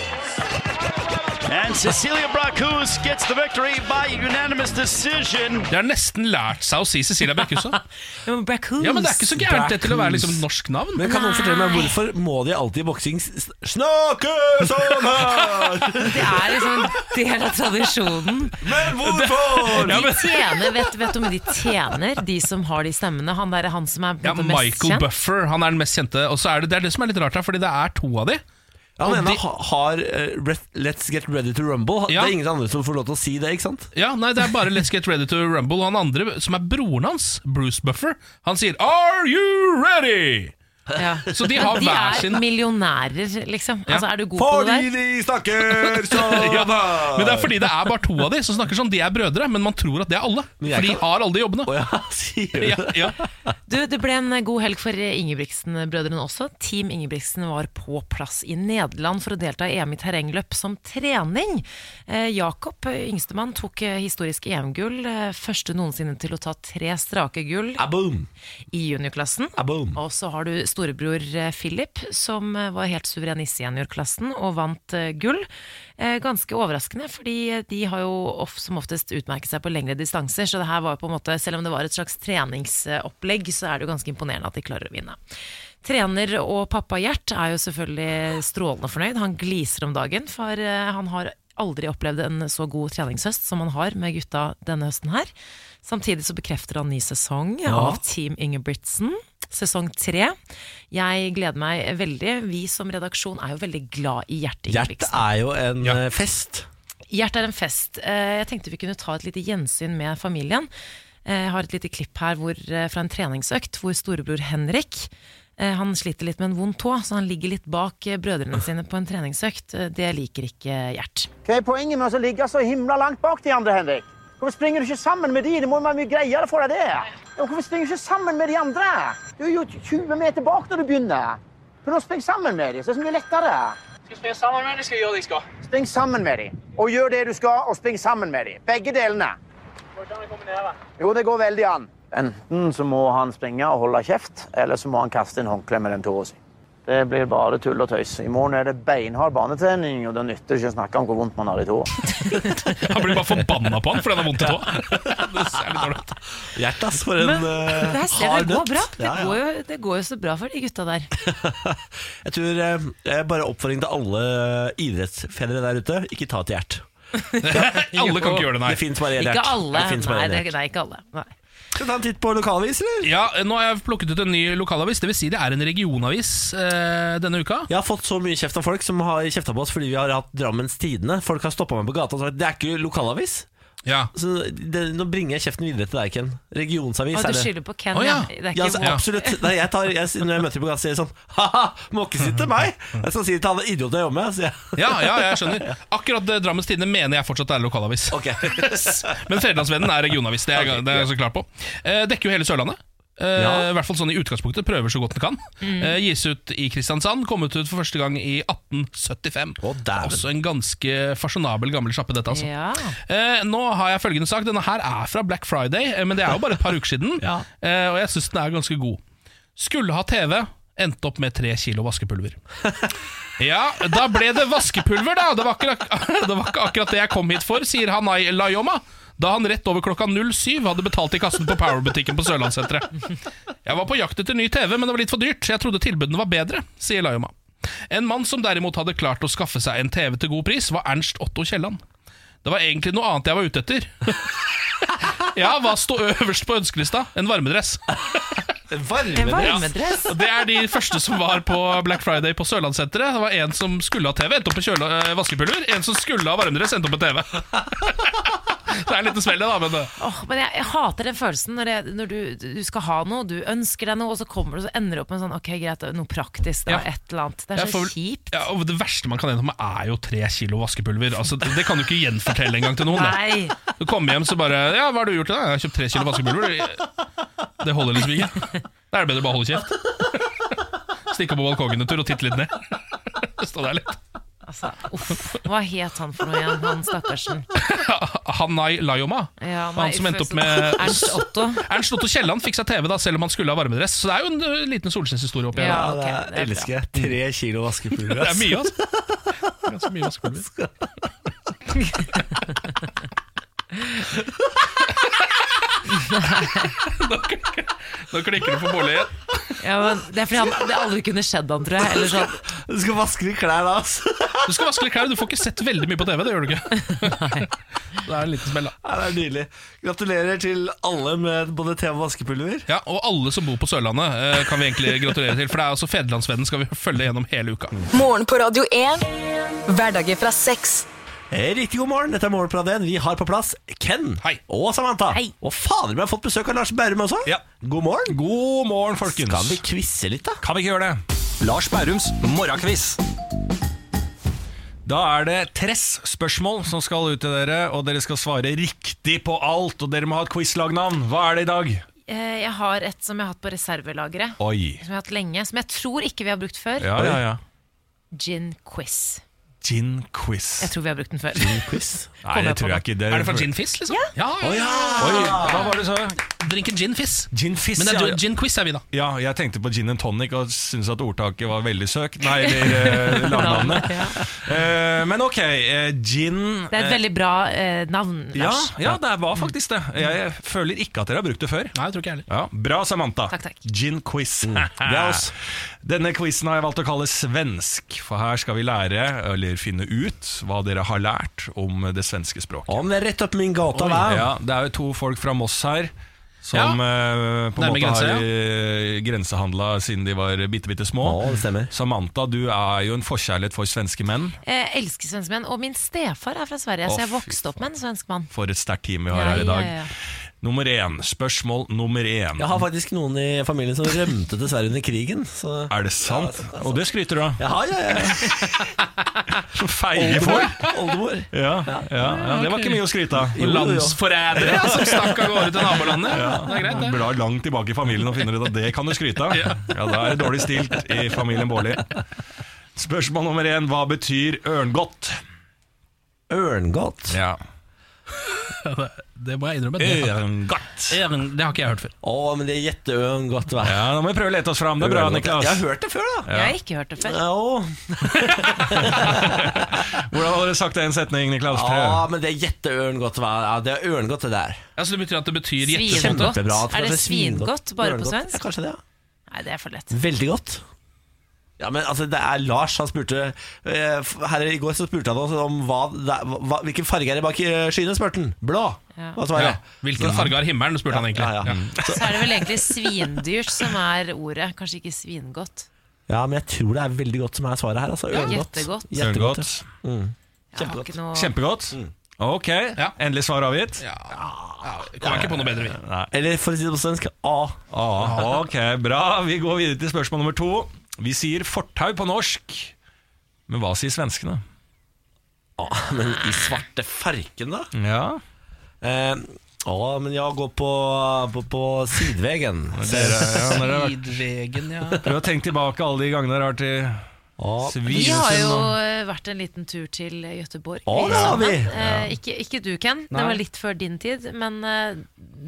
Speaker 9: And Cecilia Bracus gets the victory by unanimous decision.
Speaker 2: Det har nesten lært seg å si Cecilia Brekkhus òg.
Speaker 3: Ja, men Brackhus.
Speaker 2: Ja, men det er ikke så gærent det til å være liksom et norsk navn.
Speaker 1: Men kan noen fortelle meg hvorfor må de alltid i boksing s- s- snakke sånn her?
Speaker 3: Det er liksom en del av tradisjonen.
Speaker 1: Men hvorfor?
Speaker 2: Ja,
Speaker 3: De
Speaker 2: men-
Speaker 3: tjener, vet, vet du om de tjener, de som har de stemmene? Han der er han som er på
Speaker 2: Ja,
Speaker 3: en måte mest
Speaker 2: Michael
Speaker 3: kjent.
Speaker 2: Buffer han er den mest kjente. Og så er det, det er det som er litt rart her, fordi det er to av de.
Speaker 1: Han
Speaker 2: Og
Speaker 1: ene
Speaker 2: de-
Speaker 1: ha- har eh, Ret- Let's Get Ready to Rumble.
Speaker 2: Ja.
Speaker 1: Det er ingen andre som får lov til å si det, ikke sant?
Speaker 2: Ja, nei, Det er bare Let's Get Ready to Rumble. Og han andre, som er broren hans, Bruce Buffer, han sier Are you ready?
Speaker 3: Ja.
Speaker 2: Så de har
Speaker 3: De
Speaker 2: hver
Speaker 3: er
Speaker 2: sin
Speaker 3: millionærer, liksom.
Speaker 2: Ja.
Speaker 3: Altså, er du god på det
Speaker 1: Fordi
Speaker 3: der?
Speaker 1: de snakker sånn
Speaker 2: Ja,
Speaker 1: her!
Speaker 2: Men det er fordi det er bare to av de som snakker sånn. De er brødre, men man tror at det er alle.
Speaker 1: Men jeg
Speaker 2: For de
Speaker 1: kan-
Speaker 2: har alle de jobbene.
Speaker 1: Å ja, sier du
Speaker 2: Ja,
Speaker 1: det?
Speaker 2: ja.
Speaker 3: Du, Det ble en god helg for Ingebrigtsen-brødrene også. Team Ingebrigtsen var på plass i Nederland for å delta i EM i terrengløp som trening. Eh, Jakob, eh, yngstemann, tok eh, historisk EM-gull. eh, Første noensinne til å ta tre strake gull
Speaker 1: Aboom,
Speaker 3: i juniorklassen.
Speaker 1: aboom.
Speaker 3: Og så har du storebror eh, Philip, som eh, var helt suveren i seniorklassen og vant eh, gull. Eh, Ganske overraskende, fordi eh, de har jo of, som oftest utmerket seg på lengre distanser, så det her var jo på en måte, selv om det var et slags treningsopplegg, så er det jo ganske imponerende at de klarer å vinne. Trener og pappa Gjert er jo selvfølgelig strålende fornøyd. Han gliser om dagen, for eh, han har aldri opplevd en så god treningshøst som han har med gutta denne høsten her. Samtidig så bekrefter han ny sesong av Team Ingebrigtsen sesong tre. Jeg gleder meg veldig. Vi som redaksjon er jo veldig glad i Gjert
Speaker 1: Hjert
Speaker 3: Ingebrigtsen.
Speaker 1: er jo en eh, fest.
Speaker 3: Gjert er en fest. Eh, Jeg tenkte vi kunne ta et lite gjensyn med familien. Eh, Jeg har et lite klipp her hvor, eh, fra en treningsøkt hvor storebror Henrik eh, han sliter litt med en vond tå, så han ligger litt bak eh, brødrene sine på en treningsøkt. Eh, Det liker ikke Gjert.
Speaker 10: Hva er poenget med å ligge så himla langt bak de andre, Henrik? Hvorfor springer du ikke sammen med de? Det må jo være mye greiere for deg, det. Ja, Hvorfor springer du ikke sammen med de andre? Du er jo 20 meter bak når du begynner. Prøv å springe sammen med de, så er det mye lettere. Skal springe sammen med de, skal gjøre det jeg skal. Spring sammen med de, og gjør det du skal, og spring sammen med de. Begge delene. Jo, det går veldig an. Enten så må han springe og holde kjeft, eller så må han kaste en håndkle med den tåa si. Det blir bare tull og tøys. I morgen er det beinhard banetrening, og da nytter det ikke å snakke om hvor vondt man har i tåa.
Speaker 2: Han blir bare forbanna på han fordi han har vondt i tåa. Det ser litt dårlig ut.
Speaker 1: Hjert, ass, for en
Speaker 3: Men
Speaker 1: eh,
Speaker 3: det her ser
Speaker 1: hard
Speaker 3: vel gå
Speaker 1: nøtt.
Speaker 3: bra. Det
Speaker 1: Ja, ja.
Speaker 3: går, jo, det går jo så bra for de gutta der.
Speaker 1: Jeg tror eh, eh, bare oppfordring til alle idrettsfedre der ute, ikke ta til hjert.
Speaker 2: Alle kan ikke gjøre det,
Speaker 1: Det
Speaker 2: nei.
Speaker 1: fins bare en hjert.
Speaker 3: Ikke alle.
Speaker 1: Det finnes bare
Speaker 3: Nei,
Speaker 1: en
Speaker 3: det,
Speaker 1: hjert.
Speaker 3: det er ikke alle. Nei.
Speaker 1: Skal vi ta en titt på lokalavis, eller?
Speaker 2: Ja, Nå har jeg plukket ut en ny lokalavis. Det vil si det er en regionavis eh, denne uka.
Speaker 1: Jeg har fått så mye kjeft av folk som har kjefta på oss fordi vi har hatt Drammens Tidende. Folk har stoppa meg på gata og sagt det er ikke lokalavis.
Speaker 2: Ja.
Speaker 1: Så det, nå bringer jeg kjeften videre til deg, Ken. Regionsavis
Speaker 3: Å, du
Speaker 1: er det.
Speaker 3: skylder på Ken,
Speaker 2: Å, ja.
Speaker 3: ja. Det er
Speaker 1: Ja,
Speaker 3: ikke
Speaker 1: altså,
Speaker 3: vår-
Speaker 1: absolutt. Nei, jeg tar, jeg, når jeg møter på gata, sier jeg sånn Ha-ha, må ikke si til meg! Jeg skal si det til alle idiotene jeg jobber med. sier jeg.
Speaker 2: Ja, ja, jeg skjønner. Akkurat eh, Drammens Tidende mener jeg fortsatt er lokalavis.
Speaker 1: Ok.
Speaker 2: Yes. Men Fedrelandsvennen er regionavis, det er, jeg- det er jeg så klar på. Eh, dekker jo hele Sørlandet. Eh,
Speaker 1: Ja.
Speaker 2: I hvert fall sånn i utgangspunktet. Prøver så godt den kan. Eh, gis ut i Kristiansand. Kommet ut for første gang i 1875.
Speaker 1: Å, dæven.
Speaker 2: Det er også en ganske fasjonabel gammel sjappe, dette, altså.
Speaker 3: Ja.
Speaker 2: Eh, nå har jeg følgende sak. Denne her er fra Black Friday, eh, men det er jo bare et par uker siden.
Speaker 1: Ja.
Speaker 2: eh, og jeg syns den er ganske god. Skulle ha TV, endte opp med tre kilo vaskepulver. Ja, da ble det vaskepulver, da. Det var, akkurat, det var ikke akkurat det jeg kom hit for, sier Hanai Layoma. Da han rett over klokka 07 hadde betalt i kassen på Power-butikken på Sørlandssenteret. Jeg var på jakt etter ny TV, men det var litt for dyrt, så jeg trodde tilbudene var bedre, sier Layoma. En mann som derimot hadde klart å skaffe seg en TV til god pris, var Ernst Otto Kielland. Det var egentlig noe annet jeg var ute etter. Ja, hva sto øverst på ønskelista? En varmedress.
Speaker 3: En
Speaker 1: Varmedress.
Speaker 3: varmedress.
Speaker 2: Og Det er de første som var på Black Friday på Sørlandssenteret. Det var en som skulle ha TV, endte opp med kjøle- eh, vaskepulver. En som skulle ha varmedress, endte opp med TV. Det er en liten smell, det, da. Men eh, det.
Speaker 3: Åh, men jeg, jeg hater den følelsen når, jeg, når du, du skal ha noe, du ønsker deg noe, og så kommer du og så ender du opp med en sånn Ok, greit, noe praktisk, da,
Speaker 2: Ja.
Speaker 3: et eller annet. Det
Speaker 2: Jeg
Speaker 3: er så
Speaker 2: får vel-
Speaker 3: kjipt.
Speaker 2: Ja, og det verste man kan ende opp med, er jo tre kilo vaskepulver. Altså, det, det kan du ikke gjenfortelle engang til noen. da.
Speaker 3: Nei!
Speaker 2: Du kommer hjem så bare Ja, hva har du gjort i dag? Jeg har kjøpt tre kilo vaskepulver. Det holder liksom ikke. Da er det bedre å bare holde kjeft. Stikke opp på balkongen en tur og titte litt ned. Stå der litt.
Speaker 3: Altså, uff. Hva het han for noe igjen, han stakkarsen?
Speaker 2: Hanai Layoma.
Speaker 3: Ja, nei,
Speaker 2: han som endte opp
Speaker 3: følelsen-
Speaker 2: med
Speaker 3: Ernst Otto.
Speaker 2: Ernst Otto Kielland fikk seg TV, da selv om han skulle ha varmedress. Så det er jo en ø, liten solskinnshistorie oppi her.
Speaker 3: Ja,
Speaker 1: Ja,
Speaker 2: da.
Speaker 1: det
Speaker 3: ok,
Speaker 1: er-
Speaker 3: det er bra.
Speaker 1: elsker jeg. Tre kilo vaskepulver.
Speaker 2: Det er
Speaker 1: ass.
Speaker 2: mye, altså. Ganske mye vaskepulver. Nå klikker- Nå klikker det for Bårli igjen.
Speaker 3: Ja, men det er fordi han, det aldri kunne skjedd han, tror jeg. Eller sånn.
Speaker 1: Du skal vaske de klær da, ass.
Speaker 2: Du skal vaske litt klær, du får ikke sett veldig mye på TV. Det gjør du ikke. Det er en liten smell, da.
Speaker 1: Ja, det er nydelig. Gratulerer til alle med både te og vaskepulver.
Speaker 2: Ja, Og alle som bor på Sørlandet, eh, kan vi egentlig gratulere til. For det er altså Fedrelandsvennen skal vi følge gjennom hele uka.
Speaker 4: Morgen på Radio 1. Hverdager fra seks.
Speaker 1: Eh, Riktig god morgen, dette er Morgenprat 1. Vi har på plass Ken
Speaker 2: Hei.
Speaker 1: og Samantha.
Speaker 3: Hei.
Speaker 1: Og fader, vi har fått besøk av Lars Berrum også.
Speaker 9: Ja.
Speaker 1: God morgen.
Speaker 9: God morgen,
Speaker 1: Skal vi quizze litt, da?
Speaker 9: Kan vi ikke gjøre det? Lars Bærums morgenkviss. Da er det Tress-spørsmål som skal ut til dere, og dere skal svare riktig på alt. Og dere må ha et quiz-lagnavn. Hva er det i dag?
Speaker 3: Eh, Jeg har et som jeg har hatt på reservelageret,
Speaker 9: Oi.
Speaker 3: som jeg har hatt lenge, som jeg tror ikke vi har brukt før.
Speaker 9: Ja, ja, ja.
Speaker 3: Gin quiz.
Speaker 9: Gin quiz.
Speaker 3: Jeg tror vi har brukt den før.
Speaker 1: Quiz.
Speaker 9: Nei, det tror jeg ikke.
Speaker 2: Er det fra Gin Fizz, liksom? Ja, ja, ja.
Speaker 9: Oi, hva var det så?
Speaker 2: Drinken gin fizz.
Speaker 9: Gin fizz,
Speaker 2: Men det
Speaker 9: ja,
Speaker 2: er
Speaker 9: ja.
Speaker 2: gin quiz er vi, da.
Speaker 9: Ja, jeg tenkte på gin and tonic og syntes at ordtaket var veldig søkt. Nei, eller eh, lagnavnet.
Speaker 3: Ja.
Speaker 9: Eh, men ok, eh, gin
Speaker 3: Det er et veldig bra eh, navn,
Speaker 9: ja,
Speaker 3: Lars.
Speaker 9: ja, Mm. det var faktisk det. Jeg føler ikke at dere har brukt det før.
Speaker 2: Nei, jeg tror ikke jeg heller.
Speaker 9: Ja, Bra, Samantha.
Speaker 3: Takk, takk.
Speaker 9: Gin-quiz.
Speaker 1: Det er oss.
Speaker 9: Denne quizen har jeg valgt å kalle svensk, for her skal vi lære, eller finne ut, hva dere har lært om det svenske språket.
Speaker 1: Om det er rett opp min gata, hva?
Speaker 9: Ja, det er jo to folk fra Moss her. Som eh, på en
Speaker 2: Nærme
Speaker 9: måte
Speaker 2: grensa,
Speaker 9: har eh, grensehandla siden de var bitte, bitte små.
Speaker 1: Ja, det stemmer.
Speaker 9: Samantha, du er jo en forkjærlighet for svenske menn.
Speaker 3: Jeg Eh, elsker svenske menn, og min stefar er fra Sverige,
Speaker 9: Å,
Speaker 3: så jeg
Speaker 9: fy
Speaker 3: vokste opp med en svensk mann.
Speaker 9: For et sterkt team vi har her i dag. Nummer én. Spørsmål nummer én.
Speaker 1: Jeg har faktisk noen i familien som rømte til Sverige under krigen. Så.
Speaker 9: Er det sant? Og det skryter du av.
Speaker 1: Ja, ja, ja.
Speaker 9: Feige folk!
Speaker 1: Oldemor.
Speaker 9: Ja, ja, ja, det var ikke mye å skryte av.
Speaker 1: Jo, jo, jo.
Speaker 2: Landsforrædere ja, som stakk av gårde til nabolandet. Det er greit, det.
Speaker 9: Blar langt tilbake i familien og finner ut at det kan du skryte av. Ja, Da er det dårlig stilt i familien Baarli. Spørsmål nummer én. Hva betyr ørngodt?
Speaker 1: Ørngodt.
Speaker 9: Ja.
Speaker 2: Det må jeg innrømme. Det har,
Speaker 9: Ørngodt.
Speaker 2: det har ikke jeg hørt før.
Speaker 1: Å, men det er jetteørngodt, hva?
Speaker 9: Ja, Nå må vi prøve å lete oss fram. Det er bra, Niklas.
Speaker 1: Jeg har hørt det før, da.
Speaker 3: Jeg har ikke hørt det før.
Speaker 1: Ja, å.
Speaker 9: Hvordan hadde dere sagt det i en setning, Niklas?
Speaker 1: ja
Speaker 9: Prøv.
Speaker 1: men det er jetteørngodt, hva? Ja, det er ørngodt, det der.
Speaker 2: Ja, så det betyr at det betyr
Speaker 3: Svingodt.
Speaker 2: jetteskjønt.
Speaker 1: Kjempebra.
Speaker 3: Er det
Speaker 1: kanskje
Speaker 3: svingodt bare på
Speaker 1: Ørngodt.
Speaker 3: svensk?
Speaker 1: Ja, kanskje det, ja.
Speaker 3: Nei, det er for lett.
Speaker 1: Veldig godt. Ja, men altså, det er Lars, han spurte eh, Her i går så spurte han oss om hva, det er- hva, hvilken farge er det bak eh, skyene, spurte han. Blå.
Speaker 3: Ja.
Speaker 1: Hva svarer
Speaker 2: Ja.
Speaker 1: jeg?
Speaker 2: Hvilken farge har himmelen, spurte han egentlig.
Speaker 1: Ja, ja.
Speaker 2: Ja.
Speaker 3: Så er det vel egentlig svindyrt som er ordet, kanskje ikke svingodt.
Speaker 1: Ja, men jeg tror det er veldig godt som er svaret her. Altså.
Speaker 3: Ja,
Speaker 1: Ørngodt.
Speaker 3: jettegodt.
Speaker 1: Jettegodt,
Speaker 9: Ørngodt.
Speaker 3: Jeg har ikke noe
Speaker 9: Kjempegodt. Ok,
Speaker 2: Ja.
Speaker 9: endelig svar avgitt.
Speaker 2: Ja, ja Kommer ikke på noe bedre, vi.
Speaker 9: Nei.
Speaker 1: Eller for å si det på svensk A.
Speaker 9: Ah, ok, bra. Vi går videre til spørsmål nummer to. Vi sier fortau på norsk, men hva sier svenskene?
Speaker 1: A. Men i svarte farken, da?
Speaker 9: Ja,
Speaker 1: Eh, A, men jeg går på, på, på sidevegen.
Speaker 9: dere, ja når dere har vært-
Speaker 2: Tidvegen, ja.
Speaker 9: Prøv å tenke tilbake alle de gangene dere har vært i
Speaker 1: A.
Speaker 3: Vi har jo
Speaker 9: Svinesund. og-
Speaker 3: eh, vært en liten tur til Gøteborg.
Speaker 1: Å, det har vi!
Speaker 3: Eh, ikke, ikke du, Ken. Det var litt før din tid. Men eh,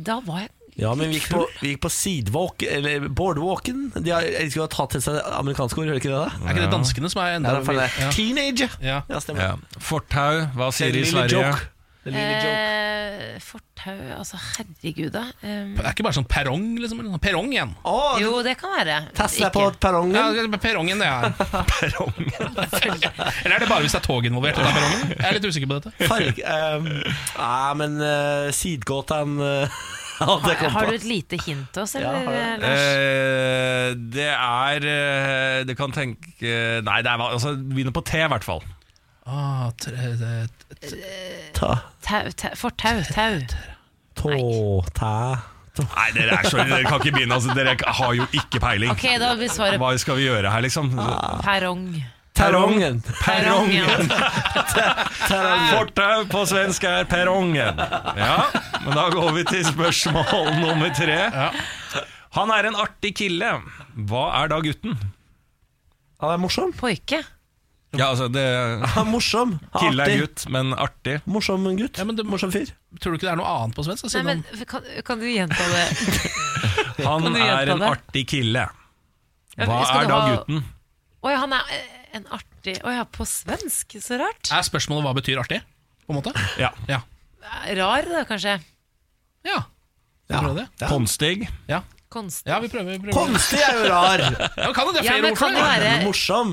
Speaker 3: da var jeg
Speaker 1: Ja, men vi gikk på, vi gikk på sidewalk, eller boardwalken. De har, de skulle ha tatt til seg amerikanske ord, hører ikke det da?
Speaker 2: Er ikke det danskene som er enda
Speaker 1: Ja, det er det. Teenage!
Speaker 2: Ja.
Speaker 1: Ja, stemmer.
Speaker 9: Ja. Fortau, hva
Speaker 1: Det
Speaker 9: sier de
Speaker 1: er
Speaker 9: i
Speaker 1: en lille
Speaker 9: Sverige?
Speaker 1: joke. Det er en lille joke.
Speaker 3: eh, Fortau Altså, herregud, da. Eh,
Speaker 2: Det er ikke bare sånn perrong, liksom? eller noe? Perrong igjen.
Speaker 1: Å,
Speaker 3: jo, det kan være.
Speaker 1: Tass deg på
Speaker 3: Ikke.
Speaker 2: Ja,
Speaker 1: perrongen.
Speaker 2: det er perrongen, det er. Eller er det bare hvis det er tog involvert? at det er perrongen? Jeg er litt usikker på dette.
Speaker 1: Farg... eh, Nei, men uh, sidgåtan eh, hadde jeg
Speaker 3: Har,
Speaker 1: kommet
Speaker 3: har du
Speaker 1: på.
Speaker 3: et lite hint til oss,
Speaker 1: Ja,
Speaker 3: eller?
Speaker 1: har jeg.
Speaker 3: eh, Lars?
Speaker 9: Eh, det er eh, Det kan tenke Nei, det er hva- altså, det begynner på T, i hvert fall.
Speaker 2: Ah, tre, tre,
Speaker 1: Ta,
Speaker 3: Tau, tau, fortau. Tau.
Speaker 1: tå, tæ.
Speaker 9: Nei, dere, er så, dere kan ikke begynne. Altså, dere har jo ikke peiling.
Speaker 3: Ok, da blir svaret
Speaker 9: Hva skal vi gjøre her, liksom?
Speaker 1: Ah.
Speaker 3: perrong.
Speaker 1: Perrongen.
Speaker 3: Perrong, ja.
Speaker 9: Fortau på svensk er perrongen. Ja, men da går vi til spørsmål nummer tre. Han er en artig kille. Hva er da gutten?
Speaker 1: Han er morsom.
Speaker 3: Poike.
Speaker 9: Ja, altså, det
Speaker 1: Han er morsom. Han
Speaker 9: Kille er
Speaker 1: artig.
Speaker 9: gutt, men artig.
Speaker 1: Morsom gutt.
Speaker 2: Ja, men det-
Speaker 1: Morsom fyr.
Speaker 2: Tror du ikke det er noe annet på svensk? da,
Speaker 3: Nei,
Speaker 2: Siden
Speaker 3: men
Speaker 2: han-
Speaker 3: kan, kan du gjenta det? Kan
Speaker 9: Han
Speaker 3: du gjenta
Speaker 9: er en
Speaker 3: det?
Speaker 9: artig kille.
Speaker 3: Ja,
Speaker 9: Hva
Speaker 3: skal
Speaker 9: er
Speaker 3: du
Speaker 9: da
Speaker 3: ha-
Speaker 9: gutten?
Speaker 3: Oi, han er eh, en artig Oi, ja, på svensk. Så rart.
Speaker 2: er spørsmålet hva betyr artig? På en måte?
Speaker 9: Ja.
Speaker 2: Ja.
Speaker 3: Rar, da, kanskje.
Speaker 2: ja. Skal vi prøve det?
Speaker 9: Konstig.
Speaker 2: Ja.
Speaker 3: Konstig.
Speaker 2: ja, vi prøver. Vi prøver.
Speaker 1: Konstig er jo rar.
Speaker 2: Ja, men kan det, det er
Speaker 3: Ja,
Speaker 2: flere
Speaker 3: men
Speaker 2: ord for
Speaker 3: kan det
Speaker 2: det.
Speaker 3: være
Speaker 1: Morsom.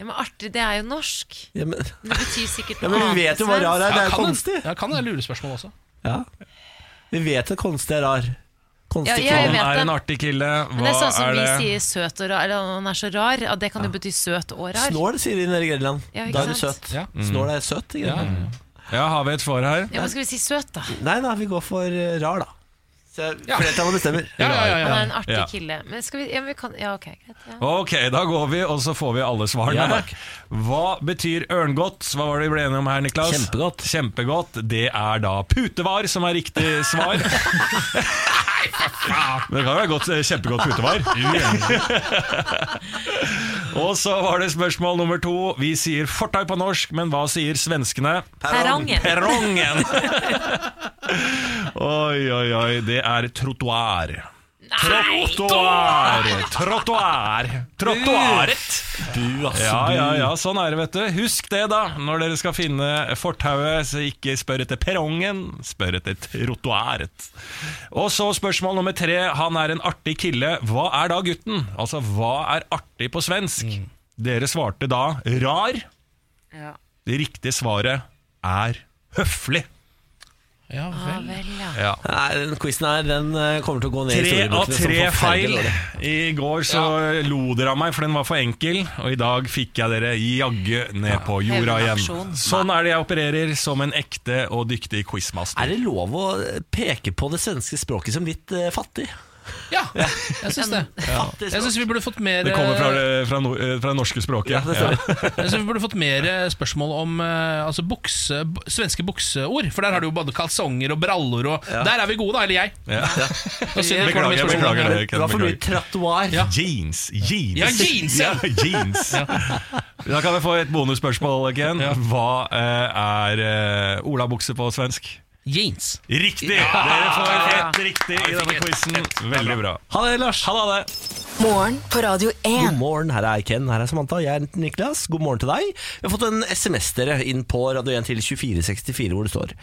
Speaker 3: ja, men Artig, det er jo norsk.
Speaker 1: Ja, men,
Speaker 3: Men Det betyr sikkert
Speaker 1: ja,
Speaker 3: noe
Speaker 1: men vi
Speaker 3: annet
Speaker 1: vet jo
Speaker 3: på
Speaker 1: hva
Speaker 3: svensk.
Speaker 1: rar er. Det
Speaker 2: Ja,
Speaker 1: er jo
Speaker 2: kan
Speaker 1: konstig.
Speaker 2: Ja, kan det være lurespørsmål også?
Speaker 1: Ja. Vi vet at konstig er rar.
Speaker 3: Ja,
Speaker 1: Konstig
Speaker 3: ja, jeg
Speaker 9: Han
Speaker 3: vet
Speaker 9: er
Speaker 3: det.
Speaker 9: en artig kille.
Speaker 3: Men det
Speaker 9: Hva
Speaker 3: er sånn som
Speaker 9: er
Speaker 3: vi
Speaker 9: det?
Speaker 3: sier søt og rar, eller han er så rar, at det kan jo bety søt og rar.
Speaker 1: Snål, sier de nede i Grenland.
Speaker 3: Ja, ikke
Speaker 1: da er du
Speaker 3: sant?
Speaker 1: søt.
Speaker 2: Ja.
Speaker 1: Snål er søt i Grenland.
Speaker 9: Ja, har vi et svar her?
Speaker 3: Ja, men skal vi si søt, da?
Speaker 1: Nei da, vi går for eh, rar, da. Så
Speaker 2: Ja.
Speaker 1: Flertallet bestemmer.
Speaker 2: Ja, ja, ja,
Speaker 3: Han
Speaker 2: ja.
Speaker 3: er en artig
Speaker 9: Ja.
Speaker 3: kille. Men skal vi, ja, men vi kan, ja, ok, greit. Ja.
Speaker 9: Ok, da går vi, og så får vi alle svarene.
Speaker 1: Ja, takk.
Speaker 9: Hva betyr ørngodt? Hva var det vi ble enige om her, Niklas?
Speaker 1: Kjempegodt.
Speaker 9: Kjempegodt. Det er da putevar som er riktig svar. Nei, Det kan være godt, kjempegodt putevar. og så var det spørsmål nummer to. Vi sier fortau på norsk, men hva sier svenskene?
Speaker 3: Perrongen.
Speaker 9: Perrongen! oi, oi, oi. Det er trottoar. Trottoar! Trottoar! Trottoaret!
Speaker 1: Bu, ass.
Speaker 9: Ja, ja, ja, sånn er det, vet du. Husk det, da, når dere skal finne fortauet. Så ikke spør etter perrongen, spør etter trottoaret. Og så spørsmål nummer tre. Han er en artig kille. Hva er da gutten? Altså, hva er artig på svensk? Dere svarte da rar.
Speaker 3: Ja.
Speaker 9: Det riktige svaret er høflig.
Speaker 2: ja
Speaker 3: Ja
Speaker 2: vel.
Speaker 3: vel, ja.
Speaker 9: Ja.
Speaker 1: Nei, den quizen her den eh, kommer til å gå ned i
Speaker 9: Tre av
Speaker 1: historiebøkene. som
Speaker 9: tre feil.
Speaker 1: forferdelig dårlig.
Speaker 9: I går så lo dere av meg, for den var for enkel. Og i dag fikk jeg dere jaggu ned på jorda
Speaker 3: hevnaksjon.
Speaker 9: igjen. Sånn er det jeg opererer, som en ekte og dyktig
Speaker 1: Er
Speaker 9: quizmaster.
Speaker 1: det lov å peke på det svenske språket som litt eh, fattig?
Speaker 2: Ja, jeg syns det.
Speaker 1: Fattig
Speaker 2: Jeg syns vi burde fått mer
Speaker 9: Det kommer fra det, fra no, eh, fra det norske språket.
Speaker 1: Ja, det stemmer.
Speaker 2: Jeg synes Vi burde fått mer eh, spørsmål om eh, altså bukse, bu- svenske bukseord. For der har du jo både kalsonger og brallor, og der er vi gode, da. Eller jeg.
Speaker 9: Ja.
Speaker 2: Da synes jeg det
Speaker 9: Beklager,
Speaker 2: kommer mye spørsmål.
Speaker 9: beklager det.
Speaker 1: Det var for mye trattoir.
Speaker 2: Ja.
Speaker 9: Jeans. Jeans.
Speaker 2: Ja, jeans, ja.
Speaker 9: jeans. Da kan vi få et bonusspørsmål, Ken. Hva eh, er eh, olabukse på svensk?
Speaker 2: Jeans.
Speaker 9: Riktig! Dere får helt riktig i denne quizen. Veldig bra.
Speaker 1: Ha det, Lars.
Speaker 9: Ha det.
Speaker 4: Morgen på Radio
Speaker 1: God
Speaker 4: 1.
Speaker 1: morgen, her er Ken, her er Samantha, jeg er Niklas. God morgen til deg. Vi har fått en SMS dere inn på Radio 1 til 2464 hvor det står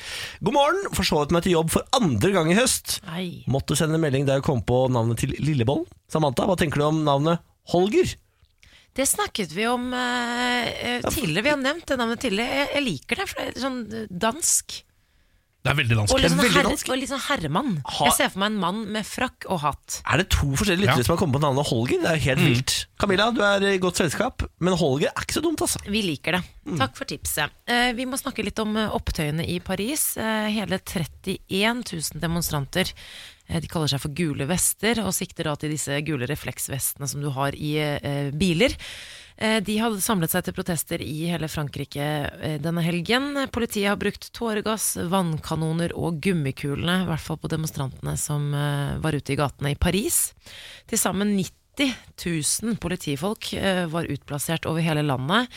Speaker 1: God morgen, forsovet meg til jobb for andre gang i høst.
Speaker 3: Nei.
Speaker 1: Måtte sende melding da jeg kom på navnet til Lillebollen. Samantha, hva tenker du om navnet Holger?
Speaker 3: Det snakket vi om eh, eh, tidligere. Vi har nevnt det navnet tidligere. Jeg, jeg liker det, for det er sånn eh, dansk.
Speaker 2: Det er veldig
Speaker 3: Og
Speaker 2: vanskelig.
Speaker 3: litt sånn,
Speaker 1: veldig
Speaker 3: herre,
Speaker 1: dansk.
Speaker 3: og litt sånn herremann.
Speaker 1: Ha-
Speaker 3: Jeg ser for meg en mann med frakk og hatt.
Speaker 1: Er det to forskjellige lyttere
Speaker 2: Ja.
Speaker 1: som har kommet på navnet Holger? Det er jo helt vilt. Camilla, du er i godt selskap, men Holger er ikke så dumt, altså.
Speaker 3: Vi liker det. Takk for tipset. Eh, Vi må snakke litt om eh, opptøyene i Paris. Eh, Hele 31 000 demonstranter. Eh, De kaller seg for gule vester og sikter da til disse gule refleksvestene som du har i eh, biler. Eh, De hadde samlet seg til protester i hele Frankrike eh, denne helgen. Politiet har brukt tåregass, vannkanoner og gummikulene, i hvert fall på demonstrantene som eh, var ute i gatene i Paris. Til sammen 90 000 politifolk eh, var utplassert over hele landet.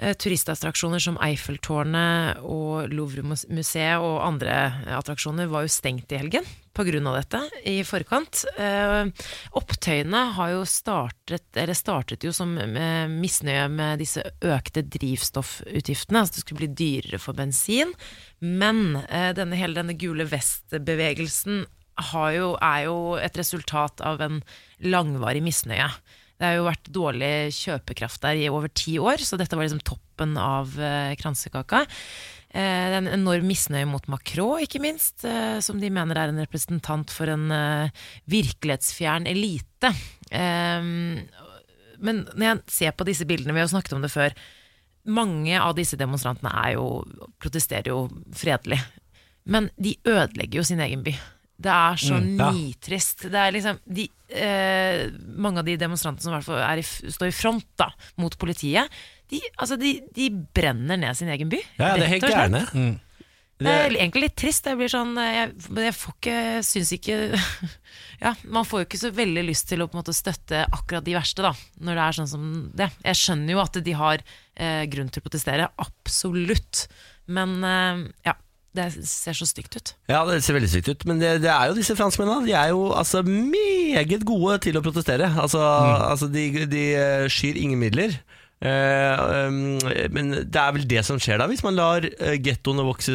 Speaker 3: Eh, Turistattraksjoner som Eiffeltårnet og Louvre-museet og andre eh, attraksjoner var jo stengt i helgen pga. dette i forkant. Eh, Opptøyene har jo startet, eller startet jo som eh, misnøye med disse økte drivstoffutgiftene. Altså det skulle bli dyrere for bensin. Men eh, denne, hele denne gule vest-bevegelsen har jo, er jo et resultat av en langvarig misnøye. Det har jo vært dårlig kjøpekraft der i over ti år, så dette var liksom toppen av eh, kransekaka. Eh, det er en enorm misnøye mot Macron, ikke minst, eh, som de mener er en representant for en eh, virkelighetsfjern elite. Eh, men når jeg ser på disse bildene, vi har jo snakket om det før, mange av disse demonstrantene er jo, protesterer jo fredelig. Men de ødelegger jo sin egen by. Det er så
Speaker 1: Mm, ja.
Speaker 3: nitrist. Det er liksom de, eh, mange av de demonstrantene som i hvert fall er i, f- står i front da, mot politiet, de, altså de, de brenner ned sin egen by.
Speaker 1: Ja, ja, det er
Speaker 3: rett
Speaker 1: helt
Speaker 3: og slett.
Speaker 1: gærne.
Speaker 3: Det er egentlig litt trist. Jeg blir sånn eh, Jeg, men jeg får ikke Syns ikke Ja, man får jo ikke så veldig lyst til å på en måte støtte akkurat de verste, da. Når det er sånn som det. Jeg skjønner jo at de har eh, grunn til å protestere. Absolutt. Men eh, ja. Det ser så stygt ut.
Speaker 1: Ja, det ser veldig sykt ut, men det, det er jo disse franskmennene. De er jo altså meget gode til å protestere. Altså,
Speaker 3: Mm.
Speaker 1: altså de, de eh, skyr ingen midler. Eh, um, men det er vel det som skjer da, hvis man lar uh, gettoene vokse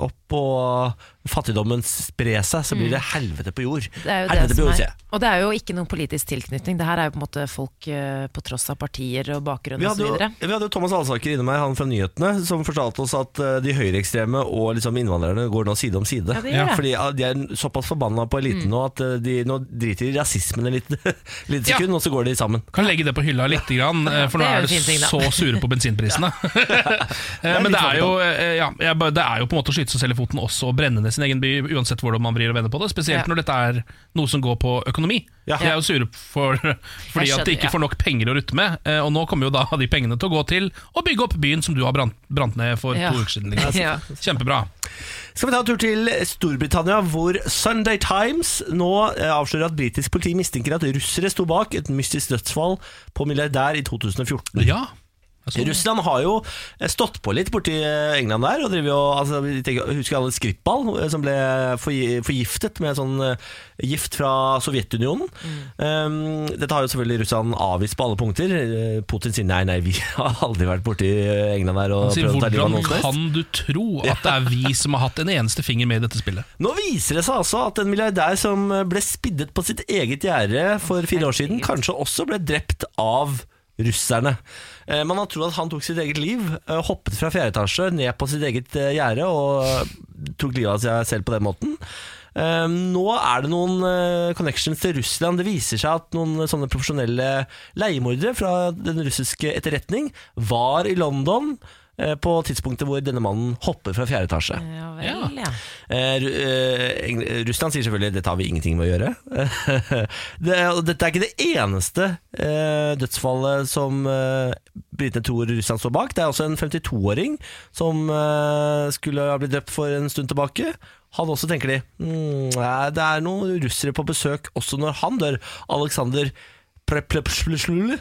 Speaker 1: opp og fattigdommen spre seg, så blir det helvete på jord.
Speaker 3: Mm. Det er jo
Speaker 1: helvete
Speaker 3: det
Speaker 1: på
Speaker 3: som
Speaker 1: jord,
Speaker 3: er.
Speaker 1: sier jeg.
Speaker 3: Og det er jo ikke noen politisk tilknytning. Det her er jo på en måte folk eh, på tross av partier og bakgrunn
Speaker 1: Vi hadde, jo,
Speaker 3: osv.
Speaker 1: vi hadde jo Thomas Alsaker inne meg, han fra nyhetene, som fortalte oss at eh, de høyreekstreme og liksom innvandrerne går nå side om side.
Speaker 3: Ja, det gjør Mm. det.
Speaker 1: Fordi ah, de er såpass forbanna på eliten nå at eh, de nå driter i rasismen et lite, lite
Speaker 2: Ja.
Speaker 1: sekund, og så går de sammen.
Speaker 2: Kan legge det på hylla litt, grann, eh, for nå
Speaker 3: det er
Speaker 2: er
Speaker 3: jo en
Speaker 2: det
Speaker 3: fin ting, da.
Speaker 2: så sure på bensinprisene. Eh, Men det er jo eh, ja, jeg bare- det er jo på en måte å skyte seg selv i foten også å brenne ned sin egen by, uansett hvordan man vrir og vender på det.
Speaker 3: Ja.
Speaker 2: Spesielt når dette er noe som går på økonomi.
Speaker 1: Ja.
Speaker 2: De er jo sure for, fordi
Speaker 3: Jeg
Speaker 2: at de
Speaker 3: skjønner, ja.
Speaker 2: ikke får nok penger å rutte med. eh, Og nå kommer jo da de pengene til å gå til å bygge opp byen som du har brant, brant ned for
Speaker 3: Ja.
Speaker 2: to uker siden. Liksom.
Speaker 3: Ja.
Speaker 2: Kjempebra.
Speaker 1: Skal vi ta en tur til Storbritannia, hvor Sunday Times nå eh, avslører at britisk politi mistenker at russere sto bak et mystisk dødsfall på milliardær i 2014.
Speaker 2: Ja. Jeg så det.
Speaker 1: Altså, Russland har jo eh, stått på litt borti eh, England der. og driver jo, altså, vi tenker, Husker alle Skripal, eh, som ble forgi- forgiftet med sånn eh, gift fra Sovjetunionen? Um, dette har jo selvfølgelig Russland avvist på alle punkter. Eh, Putin sier nei, nei, vi har aldri vært borti eh, England der. og
Speaker 2: Han sier,
Speaker 1: prøvd å ta livet av
Speaker 2: hvordan
Speaker 1: noen som helst».
Speaker 2: kan du tro at det er vi som har hatt en eneste finger med i dette spillet?
Speaker 1: Nå viser det seg altså at en milliardær som ble spiddet på sitt eget gjerde for fire år siden, kanskje også ble drept av russerne. Eh, Man har trodd at han tok sitt eget liv, eh, hoppet fra fjerde etasje ned på sitt eget eh, gjerde og eh, tok livet av seg selv på den måten. Eh, Nå er det noen eh, connections til Russland. Det viser seg at noen sånne profesjonelle leiemordere fra den russiske etterretning var i London eh, på tidspunktet hvor denne mannen hopper fra fjerde etasje.
Speaker 3: Ja vel, ja.
Speaker 1: Eh, Ru- eh, Eng- eh, Russland sier selvfølgelig dette har vi ingenting med å gjøre. det, er- og dette er ikke det eneste eh, dødsfallet som eh, britene tror Russland står bak. Det er også en 52-åring som eh, skulle ha blitt drept for en stund tilbake. Han også tenker de mm, nei, det er noen russere på besøk også når han dør. Aleksander Preplepslusjlule.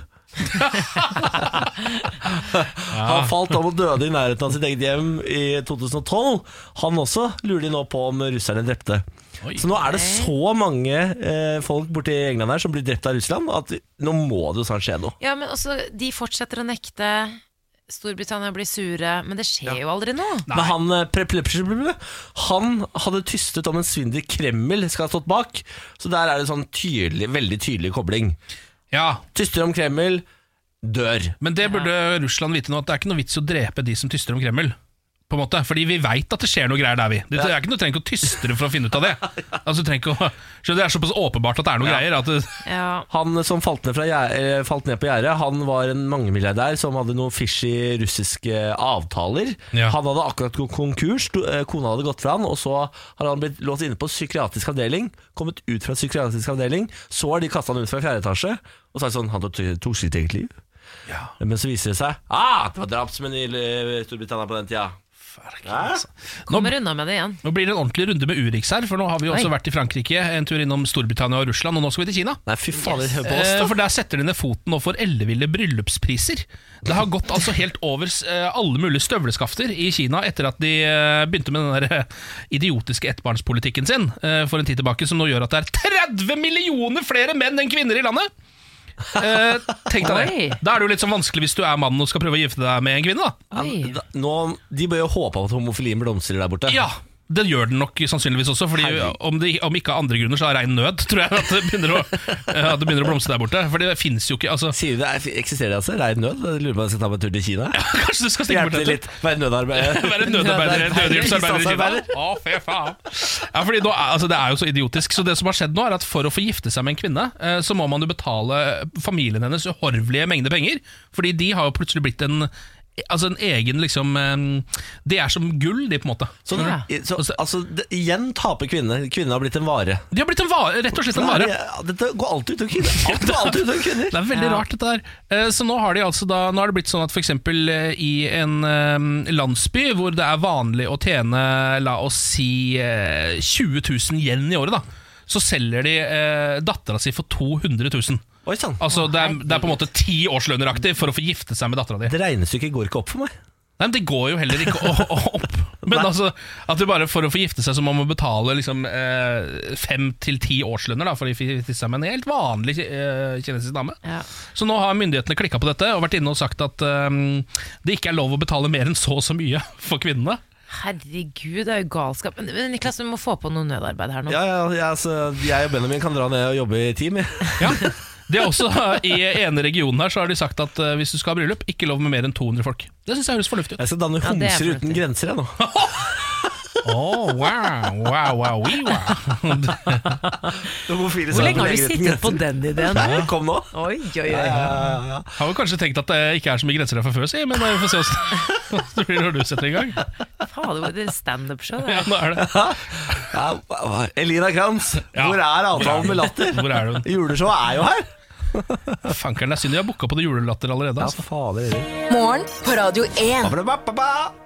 Speaker 1: Han falt om og døde i nærheten av sitt eget hjem i 2012. Han også lurer de nå på om russerne drepte.
Speaker 2: Oi.
Speaker 1: Så nå er det så mange eh, folk borti England her som blir drept av Russland, at nå må det jo snart skje noe.
Speaker 3: Ja, men også, de fortsetter å nekte. Storbritannia blir sure, men det skjer jo aldri noe.
Speaker 1: Men han, eh, Preplepsjebule, han hadde tystet om en svindel Kreml skal ha stått bak, så der er det sånn tydelig, veldig tydelig kobling.
Speaker 2: Ja,
Speaker 1: Tyster om Kreml, dør.
Speaker 2: Men det burde Russland vite nå, at det er ikke noe vits i å drepe de som tyster om Kreml. På en måte, fordi vi veit at det skjer noe greier der, vi. Du, det er ikke noe, du trenger ikke å tystre for å finne ut av det. Altså, du trenger ikke å, skjønner, du, det er såpass åpenbart at det er noe greier. At det,
Speaker 3: Ja.
Speaker 1: Han som falt ned, fra gjer- eh, falt ned på gjerdet, han var en mangemilliardær som hadde noen fishy russiske avtaler.
Speaker 2: Ja.
Speaker 1: Han hadde akkurat gått konkurs, to- eh, kona hadde gått fra han, og så har han blitt låst inne på psykiatrisk avdeling. Kommet ut fra psykiatrisk avdeling, så har de kasta han ut fra fjerde etasje, og så er det sånn Han tok tok sitt eget liv. Men så viser det seg ah, det var drapsmenn i eh, Storbritannia på den tida.
Speaker 3: Kommer unna med det igjen.
Speaker 2: nå blir det en ordentlig runde med Urix her, for nå har vi jo også vært i Frankrike, en tur innom Storbritannia og Russland, og nå skal vi til Kina.
Speaker 1: Nei, fy fader, hør på oss,
Speaker 2: Eh,
Speaker 1: da.
Speaker 2: for der setter de ned foten nå for elleville bryllupspriser. Det har gått altså helt over eh, alle mulige støvleskafter i Kina etter at de eh, begynte med den der eh, idiotiske ettbarnspolitikken sin eh, for en tid tilbake, som nå gjør at det er 30 millioner flere menn enn kvinner i landet! Eh, tenk deg
Speaker 3: Oi.
Speaker 2: det. Da er det jo litt sånn vanskelig hvis du er mann og skal prøve å gifte deg med en kvinne, da.
Speaker 1: Ja, men da- Nå, de bør jo håpe at homofilien blomstrer der borte.
Speaker 2: Ja, det gjør den nok sannsynligvis også. Fordi om, det, om ikke av andre grunner, så er rein nød, tror jeg, at det begynner å, eh, at det begynner å blomstre der borte. For det fins jo ikke altså,
Speaker 1: Sier du det er- eksisterer det altså? Rein nød? Jeg Lurer på om jeg skal ta meg en tur til Kina?
Speaker 2: Kanskje du skal stikke
Speaker 1: Hjelpe
Speaker 2: bort
Speaker 1: til litt. Være nødarbeider.
Speaker 2: Være nødarbeider, nødhjelpsarbeider i Kina?
Speaker 1: Bistandsarbeider.
Speaker 2: Å, fy faen. Ja, fordi nå, er- altså, det er jo så idiotisk. Så det som har skjedd nå, er at for å få gifte seg med en kvinne, eh, så må man jo betale familien hennes uhorvelige mengder penger. Fordi de har jo plutselig blitt en Altså en egen liksom eh, De er som gull, de, på en måte.
Speaker 1: Så, så, altså, det, igjen taper kvinnene. Kvinnene har blitt en vare.
Speaker 2: De har blitt en vare, rett og slett en vare.
Speaker 1: Ja, Dette går alltid utover kvinner. Alt går alltid utover kvinner.
Speaker 2: Det er veldig
Speaker 3: Ja.
Speaker 2: rart dette her. Eh, Så nå har, de altså da, nå har det blitt sånn at f.eks. i en eh, landsby hvor det er vanlig å tjene la oss si eh, 20 000 yen i året, da, så selger de eh, dattera si for 200 000.
Speaker 1: Oi sann.
Speaker 2: Altså, det, er, det er på en måte ti årslønneraktig for å få gifte seg med dattera di.
Speaker 1: Det regnestykket går ikke opp for meg.
Speaker 2: Nei, men Det går jo heller ikke å- å- opp. Men
Speaker 1: Nei.
Speaker 2: altså, at du bare for å få gifte seg, så må man betale liksom, eh, fem til ti årslønner da, for å gifte seg med en helt vanlig eh, kinesisk dame.
Speaker 3: Ja.
Speaker 2: Så nå har myndighetene klikka på dette og vært inne og sagt at ehm, det ikke er lov å betale mer enn så og så mye for kvinnene.
Speaker 3: Herregud, det er jo galskap. Men, men Niklas, vi må få på noe nødarbeid her nå.
Speaker 1: Ja, ja, ja, altså, jeg og Benjamin kan dra ned og jobbe i team. jeg.
Speaker 2: Ja. Det er også I ene regionen her så har de sagt at eh, hvis du skal ha bryllup, ikke lov med mer enn 200 folk. Det syns jeg høres fornuftig ut.
Speaker 1: Jeg skal danne
Speaker 3: Ja, det er
Speaker 1: homser uten
Speaker 3: fornuftig.
Speaker 1: grenser jeg nå.
Speaker 2: Oh, wow, wow, wow, wee, wow.
Speaker 1: Hvor
Speaker 3: Hvor lenge har du sittet på den ideen?
Speaker 1: Nei, kom nå.
Speaker 3: Oi, oi, oi.
Speaker 2: Har jo kanskje tenkt at det ikke er så mye grenser der fra før, si, men eh, vi får se hvordan det blir når du setter i gang.
Speaker 3: Fader, hvor- det er standup-show. det.
Speaker 2: Ja, nå er det.
Speaker 1: Ja, hva- hva- Elina Kranz,
Speaker 2: Ja.
Speaker 1: hvor er avtalen med latter?
Speaker 2: Hvor er hun?
Speaker 1: Juleshowet er jo her!
Speaker 2: Fankeren, det er synd de har booka på det julelatter allerede.
Speaker 1: Ja,
Speaker 2: Altså.
Speaker 1: fader.
Speaker 4: Morgen på Radio 1.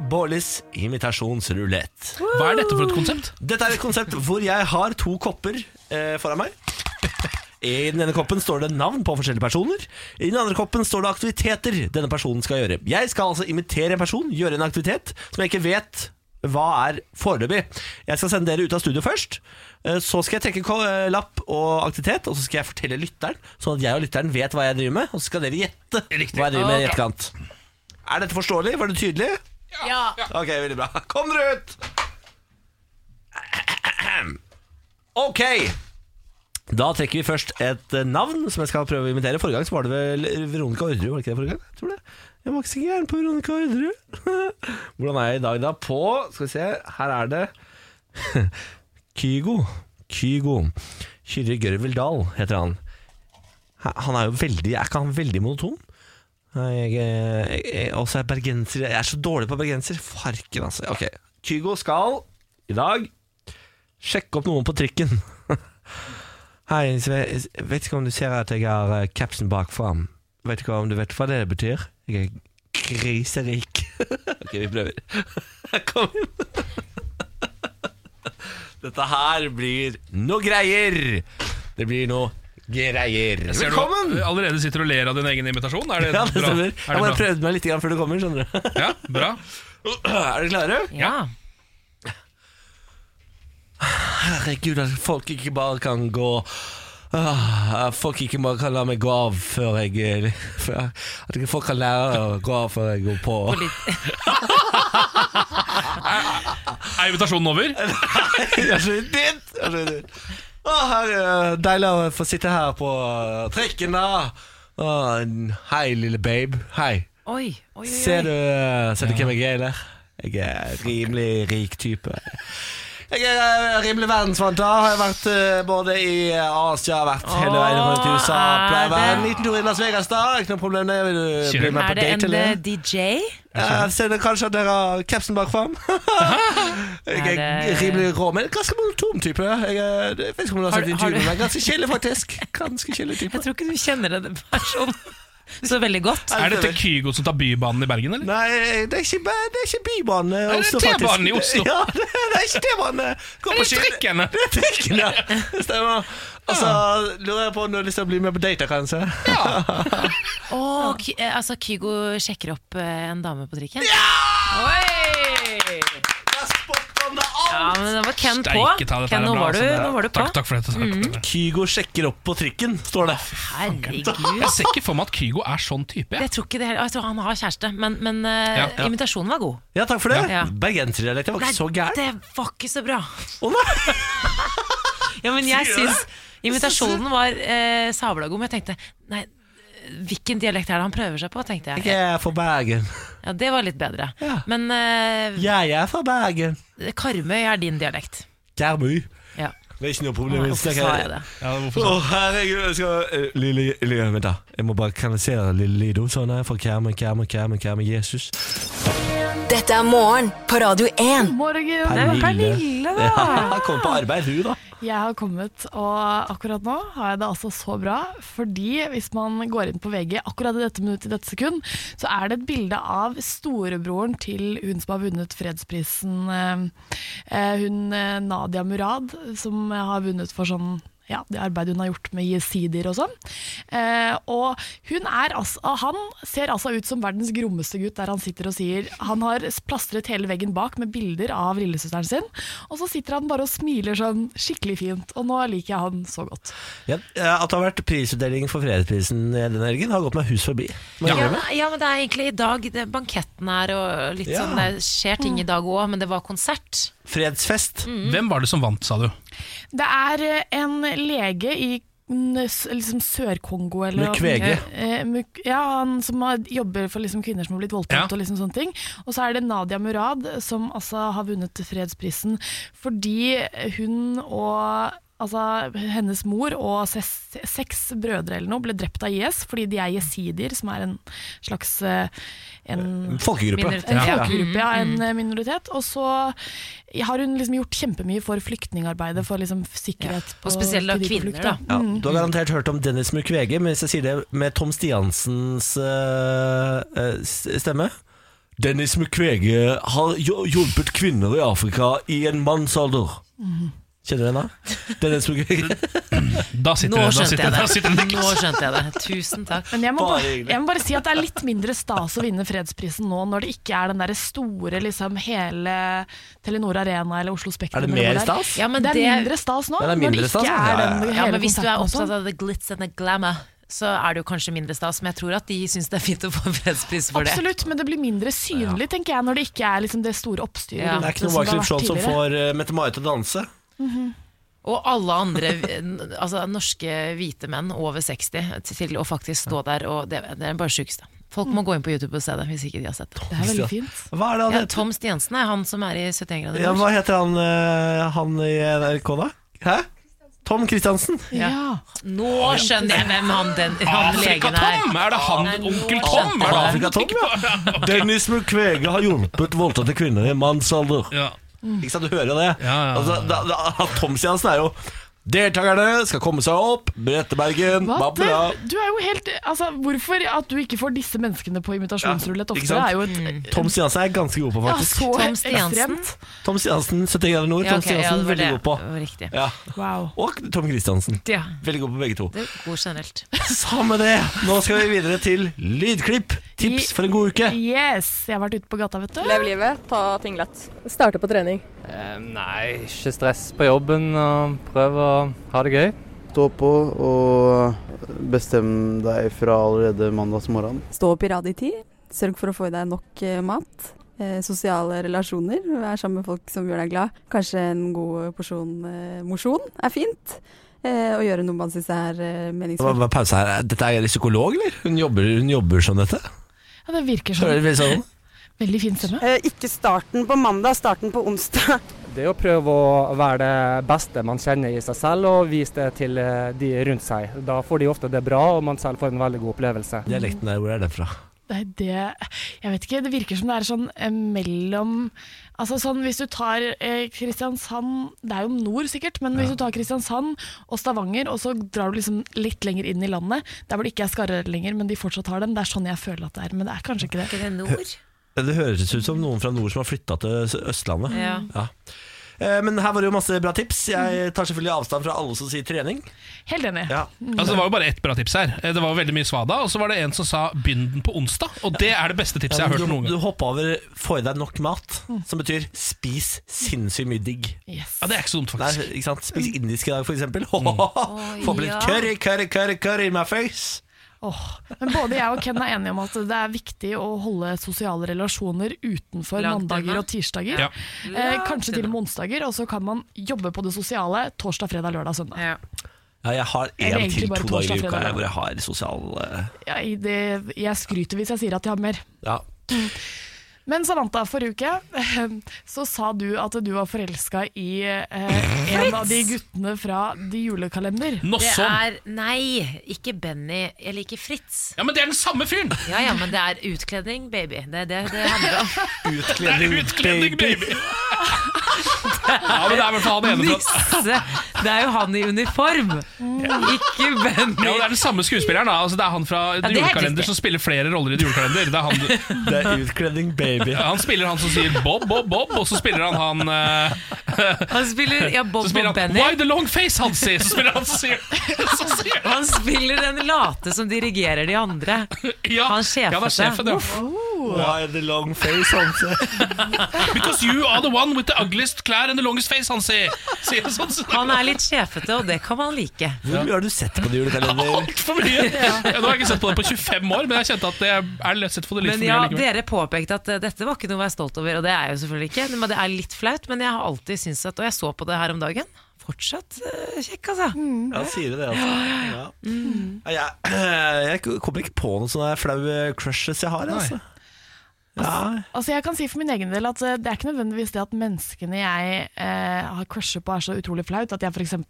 Speaker 1: Bårlis imitasjonsrulett.
Speaker 2: Hva er dette for et konsept?
Speaker 1: Dette er et konsept hvor jeg har to kopper eh, foran meg. I den ene koppen står det navn på forskjellige personer. I den andre koppen står det aktiviteter denne personen skal gjøre. Jeg skal altså imitere en person, gjøre en aktivitet som jeg ikke vet hva er foreløpig. Jeg skal sende dere ut av studio først. eh, Så skal jeg trekke ko- eh, lapp og aktivitet, og så skal jeg fortelle lytteren, sånn at jeg og lytteren vet hva jeg driver med, og så skal dere gjette hva jeg driver med i etterkant. Er dette forståelig? Var det tydelig?
Speaker 3: Ja.
Speaker 1: Ok, veldig bra. Kom dere ut! Ok! Da trekker vi først et eh, navn som jeg skal prøve å imitere. Forrige gang så var det vel Veronica Orderud, var det ikke det forrige gang? Jeg tror det. Jeg var ikke så gæren på Veronica Orderud. Hvordan er jeg i dag da? På, skal vi se, her er det Kygo. Kygo. Kyrre Gørvel Dahl heter han. Han er jo veldig, er ikke han veldig monoton? Nei, Jeg, eh, jeg, jeg, også er bergenser Jeg er så dårlig på bergenser Farken altså Ok, Kygo skal I dag Sjekke opp noen på trikken Hei, Sve- vet ikke om du ser at jeg har eh, kapsen bakfra Vet ikke om du vet hva det betyr Jeg er griserik Ok, vi prøver Kom inn Dette her blir noe greier Det blir noe greier
Speaker 2: Ser
Speaker 1: Velkommen
Speaker 2: Du allerede sitter og ler av din egen imitasjon. Er det,
Speaker 1: ja, det
Speaker 2: bra?
Speaker 1: stemmer. Jeg
Speaker 2: Er
Speaker 1: bare
Speaker 2: det bra?
Speaker 1: prøvde meg litt grann før du kommer, skjønner du.
Speaker 2: Ja, bra.
Speaker 1: Er dere klare?
Speaker 3: Ja.
Speaker 1: Herregud, at folk ikke bare kan gå Ah, at Folk ikke bare kan la meg gå av før jeg eh, før, At ikke folk kan lære å gå av før jeg går på.
Speaker 2: Er imitasjonen over?
Speaker 1: Jeg er så utbitt! Jeg er så utbitt. Å, herre, deilig å få sitte her på eh, trikken, da. Å, hei, lille babe. Hei.
Speaker 3: Oi, oi, oi. oi.
Speaker 1: Ser du, ser du hvem jeg er, eller? Jeg er rimelig rik type. Jeg er eh, rimelig verdensvant. da Har jeg vært eh, både i Asia, har vært hele veien rundt i USA.
Speaker 3: Åh,
Speaker 1: Pleier å være
Speaker 3: er
Speaker 1: en
Speaker 3: det-
Speaker 1: liten tur i Las Vegas, da. Ikke noe problem. det. Vil du
Speaker 2: Kjør.
Speaker 1: bli med
Speaker 3: Er
Speaker 1: på
Speaker 3: det en
Speaker 1: date,
Speaker 3: eh,
Speaker 1: eller?
Speaker 3: DJ?
Speaker 1: Eh, Ser dere kanskje at dere har capsen bak fram? jeg
Speaker 3: Er
Speaker 1: er
Speaker 3: det-
Speaker 1: rimelig rå, men ganske monotom type. Jeg, er, jeg vet ikke om du har
Speaker 3: Har
Speaker 1: sett
Speaker 3: du- har
Speaker 1: intervjuet
Speaker 3: du-
Speaker 1: med meg. Ganske kjedelig, faktisk. Ganske kjedelig type.
Speaker 3: Jeg tror ikke du kjenner denne personen så veldig godt.
Speaker 2: Er dette Kygo som tar Bybanen i Bergen, eller?
Speaker 1: Nei, det er ikke, det er ikke Bybanen. i
Speaker 2: det er
Speaker 1: Oslo, faktisk.
Speaker 2: T-banen i Oslo.
Speaker 1: Ja, det, det er ikke T-banen. eh. Gå
Speaker 2: Det er
Speaker 1: på skinner.
Speaker 2: trikken, da.
Speaker 1: Det er trikken, ja. Det stemmer. Og så lurer jeg på om du har lyst til å bli med på date, kanskje.
Speaker 3: Åh, Ky- eh, altså Kygo sjekker opp eh, en dame på trikken? Oi! Ja, men da var Ken på.
Speaker 2: Steike ta, dette
Speaker 3: Ken,
Speaker 2: er
Speaker 3: nå
Speaker 2: bra,
Speaker 3: var, du,
Speaker 2: altså.
Speaker 3: nå var du på.
Speaker 2: Takk, takk for dette. Takk.
Speaker 3: Mm.
Speaker 2: for dette.
Speaker 1: Kygo sjekker opp på trikken, står det.
Speaker 3: Herregud.
Speaker 2: Jeg ser ikke for meg at Kygo er sånn type. Jeg.
Speaker 3: Jeg tror ikke det heller. Jeg tror han har kjæreste, men, men eh,
Speaker 2: Ja, ja.
Speaker 3: invitasjonen var god.
Speaker 1: Ja, takk for det.
Speaker 3: Ja.
Speaker 1: Bergenserdialekt var ikke så gæren.
Speaker 3: det var ikke så bra.
Speaker 1: Å, nei.
Speaker 3: Ja, men jeg syns invitasjonen var eh, sabla god, men jeg tenkte nei, hvilken dialekt er det han prøver seg på, tenkte jeg.
Speaker 1: Jeg er fra Bergen.
Speaker 3: Ja, det var litt bedre.
Speaker 1: Ja.
Speaker 3: Men eh,
Speaker 1: Jeg er fra Bergen.
Speaker 3: Karmøy er din dialekt.
Speaker 1: Karmøy.
Speaker 3: Ja.
Speaker 1: Det er ikke noe problem.
Speaker 3: Hvorfor sa jeg det?
Speaker 2: Ja, hvorfor
Speaker 1: Å,
Speaker 2: så?
Speaker 1: herregud, jeg skal eh, Lille, lille, vent da Jeg må bare kanalisere lille Lido Sånn her, for kjærme, kjærme, kjærme, kjærme Jesus
Speaker 4: Dette er morgen på Radio 1.
Speaker 11: Sånn
Speaker 1: Pernille Pernille, da ja, Kom på arbeid, du da
Speaker 11: Jeg har kommet, og akkurat nå har jeg det altså så bra. Fordi hvis man går inn på VG akkurat i dette minuttet i dette sekund, så er det et bilde av storebroren til hun som har vunnet fredsprisen. eh, eh, Hun eh, Nadia Murad, som har vunnet for sånn ja, det arbeidet hun har gjort med jesidier og sånn. Eh, og hun er altså, han ser altså ut som verdens grommeste gutt der han sitter og sier Han har plastret hele veggen bak med bilder av lillesøsteren sin, og så sitter han bare og smiler sånn skikkelig fint, og nå liker jeg han så godt.
Speaker 1: ja, At det har vært prisutdeling for fredsprisen denne helgen Har gått meg hus forbi Må jeg
Speaker 3: Ja,
Speaker 1: innrømme.
Speaker 3: ja, men det er egentlig i dag det, banketten er, og litt
Speaker 1: Ja.
Speaker 3: sånn, det skjer ting i dag òg, men det var konsert.
Speaker 1: Fredsfest
Speaker 3: Mm.
Speaker 2: Hvem var det som vant, sa du?
Speaker 11: Det er eh, en lege i mm, s- liksom Sør-Kongo eller
Speaker 1: Mukwege.
Speaker 11: Eh, Muk- ja, han som har, jobber for liksom kvinner som har blitt voldtatt
Speaker 2: Ja.
Speaker 11: og liksom sånne ting. Og så er det Nadia Murad som altså har vunnet fredsprisen fordi hun og Altså, hennes mor og ses, seks brødre eller noe ble drept av IS fordi de er jesidier, som er en slags eh, en,
Speaker 1: Folkegruppe
Speaker 3: Minoritet.
Speaker 11: en
Speaker 3: Ja. Mm,
Speaker 11: folkegruppe, ja, en eh, minoritet. Og så har hun liksom gjort kjempemye for flyktningarbeidet, for liksom sikkerhet
Speaker 3: Og spesielt
Speaker 11: til
Speaker 3: av
Speaker 11: de på
Speaker 3: kvinner,
Speaker 11: flukt,
Speaker 3: da.
Speaker 1: ja,
Speaker 11: Mm.
Speaker 1: du har garantert hørt om Dennis Mukwege, men hvis jeg sier det med Tom Stiansens øh, øh, s- stemme Dennis Mukwege har jo- hjulpet kvinner i Afrika i en mannsalder.
Speaker 11: Mm-hmm.
Speaker 1: Kjenner du den da? Dennis Mukwege.
Speaker 2: Da sitter
Speaker 3: Nå
Speaker 2: det- da
Speaker 3: skjønte
Speaker 2: sitter,
Speaker 3: jeg
Speaker 2: da
Speaker 3: det.
Speaker 2: sitter det.
Speaker 3: Nå skjønte jeg det. Tusen takk.
Speaker 11: Men jeg må,
Speaker 1: Bare
Speaker 11: bare,
Speaker 1: hyggelig.
Speaker 11: jeg må bare si at det er litt mindre stas å vinne fredsprisen nå, når det ikke er den der store liksom, hele Telenor Arena eller Oslo Spektrum.
Speaker 1: Er det
Speaker 11: eller
Speaker 1: mer
Speaker 11: hvor det er.
Speaker 1: stas?
Speaker 3: Ja, men
Speaker 11: det er
Speaker 3: det-
Speaker 11: mindre stas nå,
Speaker 1: Ja, det er mindre
Speaker 11: når det ikke
Speaker 1: stas, ja.
Speaker 11: er den
Speaker 1: Ja, ja,
Speaker 11: hele
Speaker 3: Ja, men hvis du er
Speaker 11: konserten og sånn.
Speaker 3: opptatt av the glitz and the glamour, så er det jo kanskje mindre stas, men jeg tror at de syns det er fint å få en fredspris for det.
Speaker 11: Absolutt, men det blir mindre synlig, tenker jeg, når det ikke er liksom, det store oppstyret.
Speaker 3: Ja.
Speaker 11: rundt
Speaker 1: Det er ikke noe
Speaker 11: som det har
Speaker 1: Michael
Speaker 11: vært
Speaker 1: Show som
Speaker 11: tidligere.
Speaker 1: får øh, Mette-Marit til å danse.
Speaker 3: Og alle andre n- altså, norske hvite menn over 60 til å faktisk stå der, og det, det er bare det sjukeste. Folk må gå inn på YouTube og se det, hvis ikke de har sett det.
Speaker 11: Det er veldig fint.
Speaker 1: Hva er det han
Speaker 3: Ja,
Speaker 1: heter?
Speaker 3: Tom Stiansen er han som er i 71 grader
Speaker 1: Ja,
Speaker 3: nord.
Speaker 1: hva heter han, øh, han i NRK, da? Hæ? Tom Kristiansen.
Speaker 11: Ja.
Speaker 3: Nå skjønner jeg hvem han, den, han legen er.
Speaker 2: Afrika-Tom! Er det han
Speaker 3: Nei, nå
Speaker 2: onkel
Speaker 3: skjønte
Speaker 2: Tom?
Speaker 3: jeg
Speaker 2: Er det han?
Speaker 1: Afrika Tom, ja. Dennis Mukwege har hjulpet voldtatte kvinner i en mannsalder.
Speaker 2: Ja.
Speaker 1: Ikke sant, du hører jo det
Speaker 2: Ja, ja.
Speaker 1: Altså, da, da, Tom Siansen er jo Deltakerne skal komme seg opp Brette Bergen
Speaker 11: Hva?
Speaker 1: bla, bla.
Speaker 11: Du er jo helt, altså, hvorfor at du ikke får disse menneskene på
Speaker 1: Ja,
Speaker 11: imitasjonsrulett
Speaker 1: ikke
Speaker 11: ofte,
Speaker 1: sant? Mm.
Speaker 11: er jo et
Speaker 1: Tom Siansen er ganske god på
Speaker 11: ja,
Speaker 1: faktisk
Speaker 11: så
Speaker 3: Tom Stiansen.
Speaker 11: ekstremt.
Speaker 1: Tom Siansen, 70 grader nord
Speaker 3: Ja,
Speaker 1: Tom
Speaker 3: ok, ja,
Speaker 1: Stiansen,
Speaker 3: det var
Speaker 1: veldig
Speaker 3: det.
Speaker 1: god på
Speaker 3: Det var Riktig.
Speaker 1: ja.
Speaker 11: Wow.
Speaker 1: Og Tom Kristiansen
Speaker 3: Ja,
Speaker 1: Veldig god på begge to
Speaker 3: det er god generelt.
Speaker 1: Samme det, nå skal vi videre til lydklipp Tips for en god uke
Speaker 11: Yes, jeg har vært ute på gata, vet du.
Speaker 7: Lev livet, ta ting lett.
Speaker 12: Starte på trening.
Speaker 10: Nei, ikke stress på jobben og prøv å ha det gøy. Stå på og bestem deg fra allerede mandagsmorgen.
Speaker 12: Stå opp i rad i tid. Sørg for å få i deg nok eh, mat. Eh, sosiale relasjoner. Vær sammen med folk som gjør deg glad. Kanskje en god porsjon eh, mosjon er fint. Eh, og gjøre noe man syns er eh,
Speaker 1: Det var
Speaker 12: meningsfullt.
Speaker 1: bare pause her Dette er psykolog, eller? Hun jobber, hun jobber sånn dette
Speaker 11: Ja, det virker
Speaker 1: Hører
Speaker 11: sånn.
Speaker 1: det veldig sånn
Speaker 11: Veldig fin stemme.
Speaker 13: Eh, Ikke starten på mandag, starten på onsdag.
Speaker 14: Det er å prøve å være det beste man kjenner i seg selv, og vise det til eh, de rundt seg. Da får de ofte det bra, og man selv får en veldig god opplevelse.
Speaker 1: sånn? Dialekten der, hvor er den fra?
Speaker 11: Nei, det Jeg vet ikke, det virker som det er sånn eh, mellom Altså sånn hvis du tar eh, Kristiansand Det er jo nord sikkert, men hvis du tar Kristiansand og Stavanger, og så drar du liksom litt lenger inn i landet, der hvor det ikke er skarrer lenger, men de fortsatt har den, det er sånn jeg føler at det er. Men det er kanskje ikke det.
Speaker 15: Ikke det nord?
Speaker 1: Det høres ut som noen fra nord som har flytta til Ø- Østlandet.
Speaker 11: Ja.
Speaker 1: Eh, Men her var det jo masse bra tips. Jeg tar selvfølgelig avstand fra alle som sier trening.
Speaker 11: Helt enig.
Speaker 1: Ja.
Speaker 2: Altså, det var jo bare ett bra tips her. Eh, Det var jo veldig mye svada, og så var det en som sa 'begynn den på onsdag'. Og det er det beste tipset jeg har
Speaker 1: Ja,
Speaker 2: hørt
Speaker 1: men
Speaker 2: noen
Speaker 1: Du,
Speaker 2: gang.
Speaker 1: du hoppa over 'få i deg nok mat',
Speaker 11: Mm.
Speaker 1: som betyr spis sinnssykt mye digg.
Speaker 2: Ja, Det er ikke så dumt, faktisk.
Speaker 1: Nei, ikke sant? Spis indisk i dag, for eksempel.
Speaker 2: Mm.
Speaker 1: Få opp litt
Speaker 11: Mm. ja.
Speaker 1: curry, curry, curry, curry in my face.
Speaker 11: Åh, Men både jeg og Ken er enige om at det er viktig å holde sosiale relasjoner utenfor
Speaker 15: Langt
Speaker 11: mandager
Speaker 15: unna.
Speaker 11: og tirsdager.
Speaker 15: Ja.
Speaker 11: Eh,
Speaker 15: Langt
Speaker 11: kanskje til og med onsdager, og så kan man jobbe på det sosiale torsdag, fredag, lørdag, søndag.
Speaker 15: Ja.
Speaker 1: Ja, jeg har
Speaker 11: Eller
Speaker 1: én
Speaker 11: egentlig
Speaker 1: til
Speaker 11: bare
Speaker 1: to dager i
Speaker 11: torsdag,
Speaker 1: uka
Speaker 11: fredag.
Speaker 1: jeg, hvor jeg har sosial eh,
Speaker 11: Jeg, det, jeg skryter hvis jeg sier at jeg har mer.
Speaker 1: Ja.
Speaker 11: Men Samantha, forrige uke eh, så sa du at du var forelska i eh, en av de guttene fra De julekalender.
Speaker 15: Det er Nei, ikke Benny. Jeg liker Fritz.
Speaker 2: Ja, Men det er den samme fyren!
Speaker 15: Ja, ja, men det er utkledning, baby. Det er det det handler om.
Speaker 1: Utkledning,
Speaker 2: utkledning, baby! Ja, men det er i hvert fall han ene fra
Speaker 3: Nisse! Det er jo han i uniform! Ikke Benny.
Speaker 2: Ja, det er den samme skuespilleren. da altså, Det er han fra
Speaker 3: det er helt
Speaker 2: Julekalender
Speaker 3: riktig.
Speaker 2: som spiller flere roller i The Julekalender. Det er han du-
Speaker 1: Det er utkledning, baby.
Speaker 2: Ja, han spiller han som sier Bob, Bob, Bob, og så spiller han han eh,
Speaker 3: Han spiller ja, Bob
Speaker 2: Så spiller
Speaker 3: og
Speaker 2: han
Speaker 3: Benny.
Speaker 2: Why the long face, Hansi? Så spiller han som sier så sier-
Speaker 3: Han spiller den late som dirigerer de andre. han
Speaker 2: ja, det er sjefen,
Speaker 3: sjefete.
Speaker 2: ja.
Speaker 3: Uff.
Speaker 1: Why the long face, Hanse?
Speaker 2: Because you are the one with the ugliest klær and the longest face, Hansi. Sier han sånn.
Speaker 3: Han er litt sjefete, og det kan man like.
Speaker 1: Hvor mye har du sett på det julekalender?
Speaker 2: For mye. Ja, nå har jeg ikke sett på det på 25 år, men jeg kjente at det er lett sett for det litt
Speaker 3: Men
Speaker 2: for mye
Speaker 3: ja,
Speaker 2: Liksom, likevel.
Speaker 3: dere påpekte at eh, dette var ikke noe å være stolt over, og det er jeg jo selvfølgelig ikke. Men det er litt flaut, men jeg har alltid syntes at Og jeg så på det her om dagen. Fortsatt eh, kjekk, altså.
Speaker 11: Mm.
Speaker 1: Ja, sier du det, altså.
Speaker 3: Ja, ja, Mm.
Speaker 1: Ja. Ja, Jeg, jeg kommer ikke på noen sånne flaue crushes jeg har, altså. Ja.
Speaker 11: Altså Jeg kan si for min egen del at eh, det er ikke nødvendigvis det at menneskene jeg eh, har crushet på er så utrolig flaut. At jeg f.eks.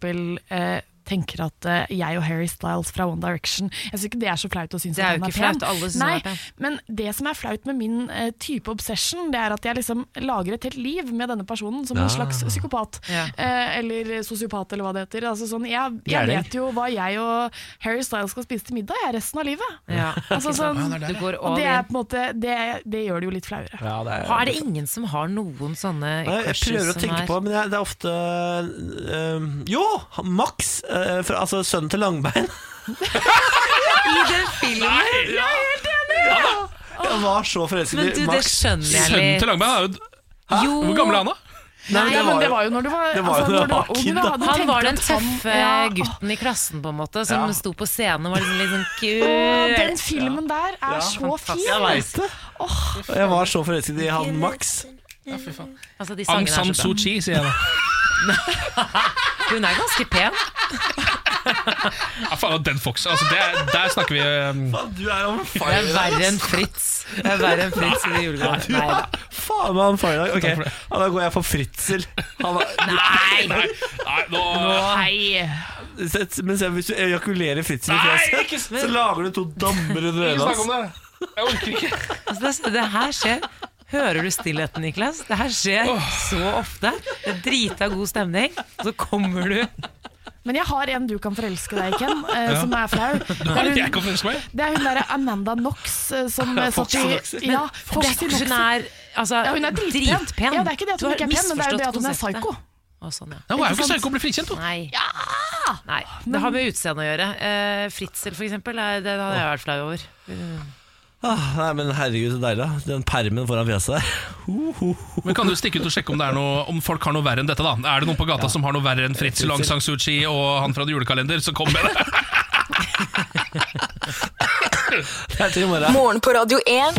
Speaker 11: Eh, tenker at eh, jeg og Harry Styles fra One Direction Jeg syns ikke det er så flaut å synes
Speaker 3: Det
Speaker 11: at
Speaker 3: er jo
Speaker 11: han er
Speaker 3: ikke
Speaker 11: pen.
Speaker 3: flaut, alle synes
Speaker 11: Nei,
Speaker 3: han er pen.
Speaker 11: Men det som er flaut med min eh, type obsession, det er at jeg liksom lager et helt liv med denne personen som
Speaker 3: Ja.
Speaker 11: en slags psykopat. Eh, eller sosiopat, eller hva det heter. Altså sånn, jeg, jeg
Speaker 3: Gærning.
Speaker 11: vet jo hva jeg og Harry Styles skal spise til middag jeg, resten av livet.
Speaker 3: Ja.
Speaker 11: Altså,
Speaker 3: Ikke sant?
Speaker 11: sånn,
Speaker 3: Ja, det er det. Du går all
Speaker 11: og det, er
Speaker 3: in.
Speaker 11: på en måte, det, det gjør det jo litt flauere.
Speaker 3: er det ingen som har noen sånne
Speaker 1: Nei, jeg
Speaker 3: crushes
Speaker 1: prøver å
Speaker 3: som
Speaker 1: tenke
Speaker 3: er-
Speaker 1: på, men jeg, det er ofte eh, Jo! Max! eh, fra, altså sønnen til Langbein.
Speaker 3: I den filmen!
Speaker 2: Nei, ja.
Speaker 1: Jeg var så
Speaker 3: Men
Speaker 1: forelsket
Speaker 3: du,
Speaker 1: i
Speaker 3: det
Speaker 1: Max.
Speaker 3: skjønner jeg
Speaker 2: Sønnen
Speaker 3: litt.
Speaker 2: til Langbein er jo
Speaker 3: Jo.
Speaker 2: Hvor gammel er han, da?
Speaker 11: Nei,
Speaker 3: Nei,
Speaker 11: ja, men det var jo når du var,
Speaker 1: det var jo
Speaker 11: altså,
Speaker 1: når
Speaker 11: når du
Speaker 1: jeg
Speaker 11: var
Speaker 1: var
Speaker 11: ung,
Speaker 1: kid,
Speaker 11: da.
Speaker 1: da.
Speaker 11: hadde du
Speaker 3: Han
Speaker 11: tenkt
Speaker 3: var eh, den
Speaker 11: at han-
Speaker 3: tøffe
Speaker 11: ja,
Speaker 3: gutten i klassen, på en måte, som
Speaker 11: Ja.
Speaker 3: sto på scenen og var liksom litt sånn kul.
Speaker 11: Å, den filmen der er så fin!
Speaker 1: Jeg vet det. Og jeg var så forelsket i han Max.
Speaker 2: Ja, fy faen.
Speaker 3: Altså, de
Speaker 2: Aung
Speaker 3: sangene er
Speaker 2: San
Speaker 3: så
Speaker 2: Suu
Speaker 3: bra.
Speaker 2: Kyi, sier jeg da.
Speaker 3: Hun er ganske pen.
Speaker 2: Ja, faen, og den Fox, altså, det, der snakker vi um,
Speaker 1: Du er on
Speaker 3: Det er verre enn Fritz. Det er verre enn Fritz i julekalender. Nei da.
Speaker 1: Faen meg han far i dag. Ok, ja, da går jeg for Fritzel. Han var-
Speaker 3: Nei!
Speaker 2: Nei, nei nå,
Speaker 1: Sett- Men se, hvis du ejakulerer Fritzel i
Speaker 2: Nei,
Speaker 1: fjeset,
Speaker 2: ikke
Speaker 1: så lager du to dammer under
Speaker 2: Ikke
Speaker 1: øynene
Speaker 2: snakk om
Speaker 1: hans.
Speaker 2: det. Jeg orker ikke.
Speaker 3: Altså, det, er- det her skjer Hører du stillheten, Niklas? Det her skjer så ofte. Det er drita god stemning, og så kommer du
Speaker 11: Men jeg har en du kan forelske deg i, Ken, eh,
Speaker 3: Ja.
Speaker 11: som er flau.
Speaker 3: Du har
Speaker 11: Det
Speaker 3: en
Speaker 11: er
Speaker 3: jeg kan
Speaker 2: forelske meg
Speaker 11: Det er hun derre Amanda Knox eh, som eh,
Speaker 3: Fox
Speaker 11: satt i
Speaker 3: og Knox.
Speaker 11: Ja,
Speaker 3: Men
Speaker 11: Fox
Speaker 3: Fox
Speaker 11: i Knox.
Speaker 3: hun er, altså,
Speaker 11: ja, hun er dritpen.
Speaker 3: dritpen.
Speaker 11: Ja, det er ikke det at
Speaker 3: Du
Speaker 11: hun
Speaker 3: har
Speaker 11: ikke er pen, men det er jo det at hun er
Speaker 3: misforstått
Speaker 11: psyko.
Speaker 3: Å, sånn, ja.
Speaker 2: Ja, hun er jo
Speaker 3: Ikke
Speaker 2: ikke
Speaker 3: sant?
Speaker 2: psyko og blir frikjent, jo.
Speaker 3: Nei. Nei. Det har med utseendet å gjøre. Eh, Fritzel, for eksempel, er, det hadde jeg vært flau over.
Speaker 1: Ah, nei, men herregud, så deilig. da. Den permen foran fjeset der. Ho, ho, ho.
Speaker 2: Men Kan du stikke ut og sjekke om, det er noe, om folk har noe verre enn dette? da Er det noen på gata som har noe verre enn Fritz Lang Sang Suu Kyi og han fra Julekalender, så kom med det!
Speaker 1: Det er til i morgen.
Speaker 4: Morgen på Radio 1.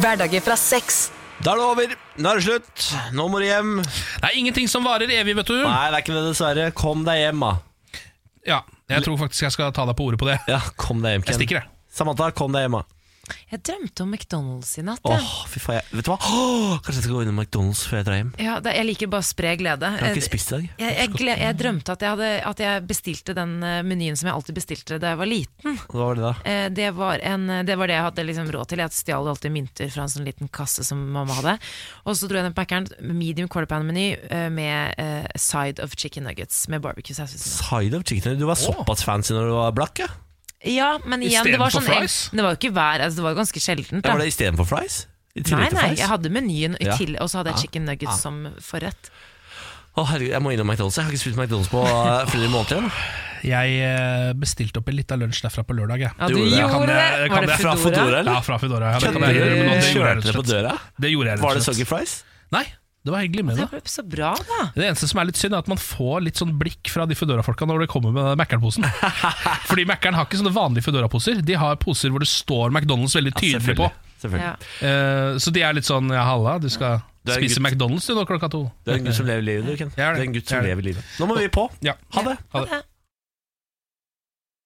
Speaker 4: Hverdager fra seks.
Speaker 1: Da er det over. Nå er det slutt. Nå må du hjem.
Speaker 2: Det er ingenting som varer evig, vet du.
Speaker 1: Nei, det er ikke det, dessverre. Kom deg hjem, da.
Speaker 2: Ja, jeg tror faktisk jeg skal ta deg på ordet på det.
Speaker 1: Ja, kom deg hjem, Ken.
Speaker 2: Jeg stikker, jeg.
Speaker 1: Samantha, kom deg hjem, da.
Speaker 3: Jeg drømte om McDonald's i natt.
Speaker 1: Åh,
Speaker 3: jeg.
Speaker 1: fy faen, jeg, vet du hva? Åh, kanskje jeg skal gå innom McDonald's før jeg drar hjem.
Speaker 3: Ja, det, jeg liker bare å spre glede. Eh,
Speaker 1: Jeg har ikke spist i dag.
Speaker 3: Jeg, jeg, gle- jeg drømte at jeg, hadde, at jeg bestilte den eh, menyen som jeg alltid bestilte da jeg var liten.
Speaker 1: Hva var det da?
Speaker 3: Eh, Det var, en, det var det jeg hadde liksom råd til. Jeg stjal alltid mynter fra en sånn liten kasse som mamma hadde. Og så dro jeg ned på Mackeren, medium quarter pound-meny eh, med eh, side of chicken nuggets med barbecue-saus. ved siden av.
Speaker 1: Side of chicken. Du var såpass fancy når du var blakk, ja?
Speaker 3: Ja, men igjen, det var
Speaker 1: Istedenfor
Speaker 3: sånn
Speaker 1: fries?
Speaker 3: Det var jo ikke hver, altså, det var jo ganske sjeldent.
Speaker 1: ja
Speaker 3: Da.
Speaker 1: var det istedenfor fries? I tillegg
Speaker 3: Nei,
Speaker 1: til
Speaker 3: nei,
Speaker 1: fries?
Speaker 3: jeg hadde menyen, i
Speaker 1: Ja.
Speaker 3: til, og så hadde jeg chicken nuggets
Speaker 1: Ja.
Speaker 3: som forrett.
Speaker 1: Å, herregud, jeg må innom McDonald's. Jeg har ikke spist McDonald's på eh, flere måneder. igjen.
Speaker 2: Jeg eh, bestilte opp en liten lunsj derfra på lørdag. Jeg.
Speaker 1: Ja, du gjorde
Speaker 2: Kan
Speaker 1: det.
Speaker 2: jeg-
Speaker 1: Var
Speaker 2: kan
Speaker 1: det
Speaker 2: jeg-
Speaker 1: fra Foodora, eller?
Speaker 2: Ja, fra Foodora. Ja, det kan
Speaker 1: Kødder
Speaker 2: jeg
Speaker 1: du?
Speaker 2: gjøre, men det gjorde jeg
Speaker 1: Kjørte
Speaker 2: rett og
Speaker 1: det på
Speaker 2: slett.
Speaker 1: døra?
Speaker 2: Det gjorde jeg rett og
Speaker 1: Var det Altså, soggy
Speaker 2: slett.
Speaker 1: fries?
Speaker 2: Nei, det var hyggelig med
Speaker 3: Det
Speaker 2: det.
Speaker 3: ble så bra, da!
Speaker 2: Det eneste som er litt synd, er at man får litt sånn blikk fra de Foodora-folka når de kommer med Mækkern-posen. Fordi Mækkern har ikke sånne vanlige Foodora-poser. De har poser hvor det står McDonald's veldig tydelig på.
Speaker 1: Selvfølgelig.
Speaker 2: Eh, så de er litt sånn ja, halla, du skal
Speaker 1: Du er en
Speaker 2: spise
Speaker 1: gutt.
Speaker 2: McDonald's du nå klokka to.
Speaker 1: Du er en gutt som lever livet, du, Ken.
Speaker 2: Jeg er det.
Speaker 1: Du er en gutt som
Speaker 2: Jeg er det.
Speaker 1: lever livet. Nå må vi på.
Speaker 2: Ja.
Speaker 1: Ha det.
Speaker 2: Ha det.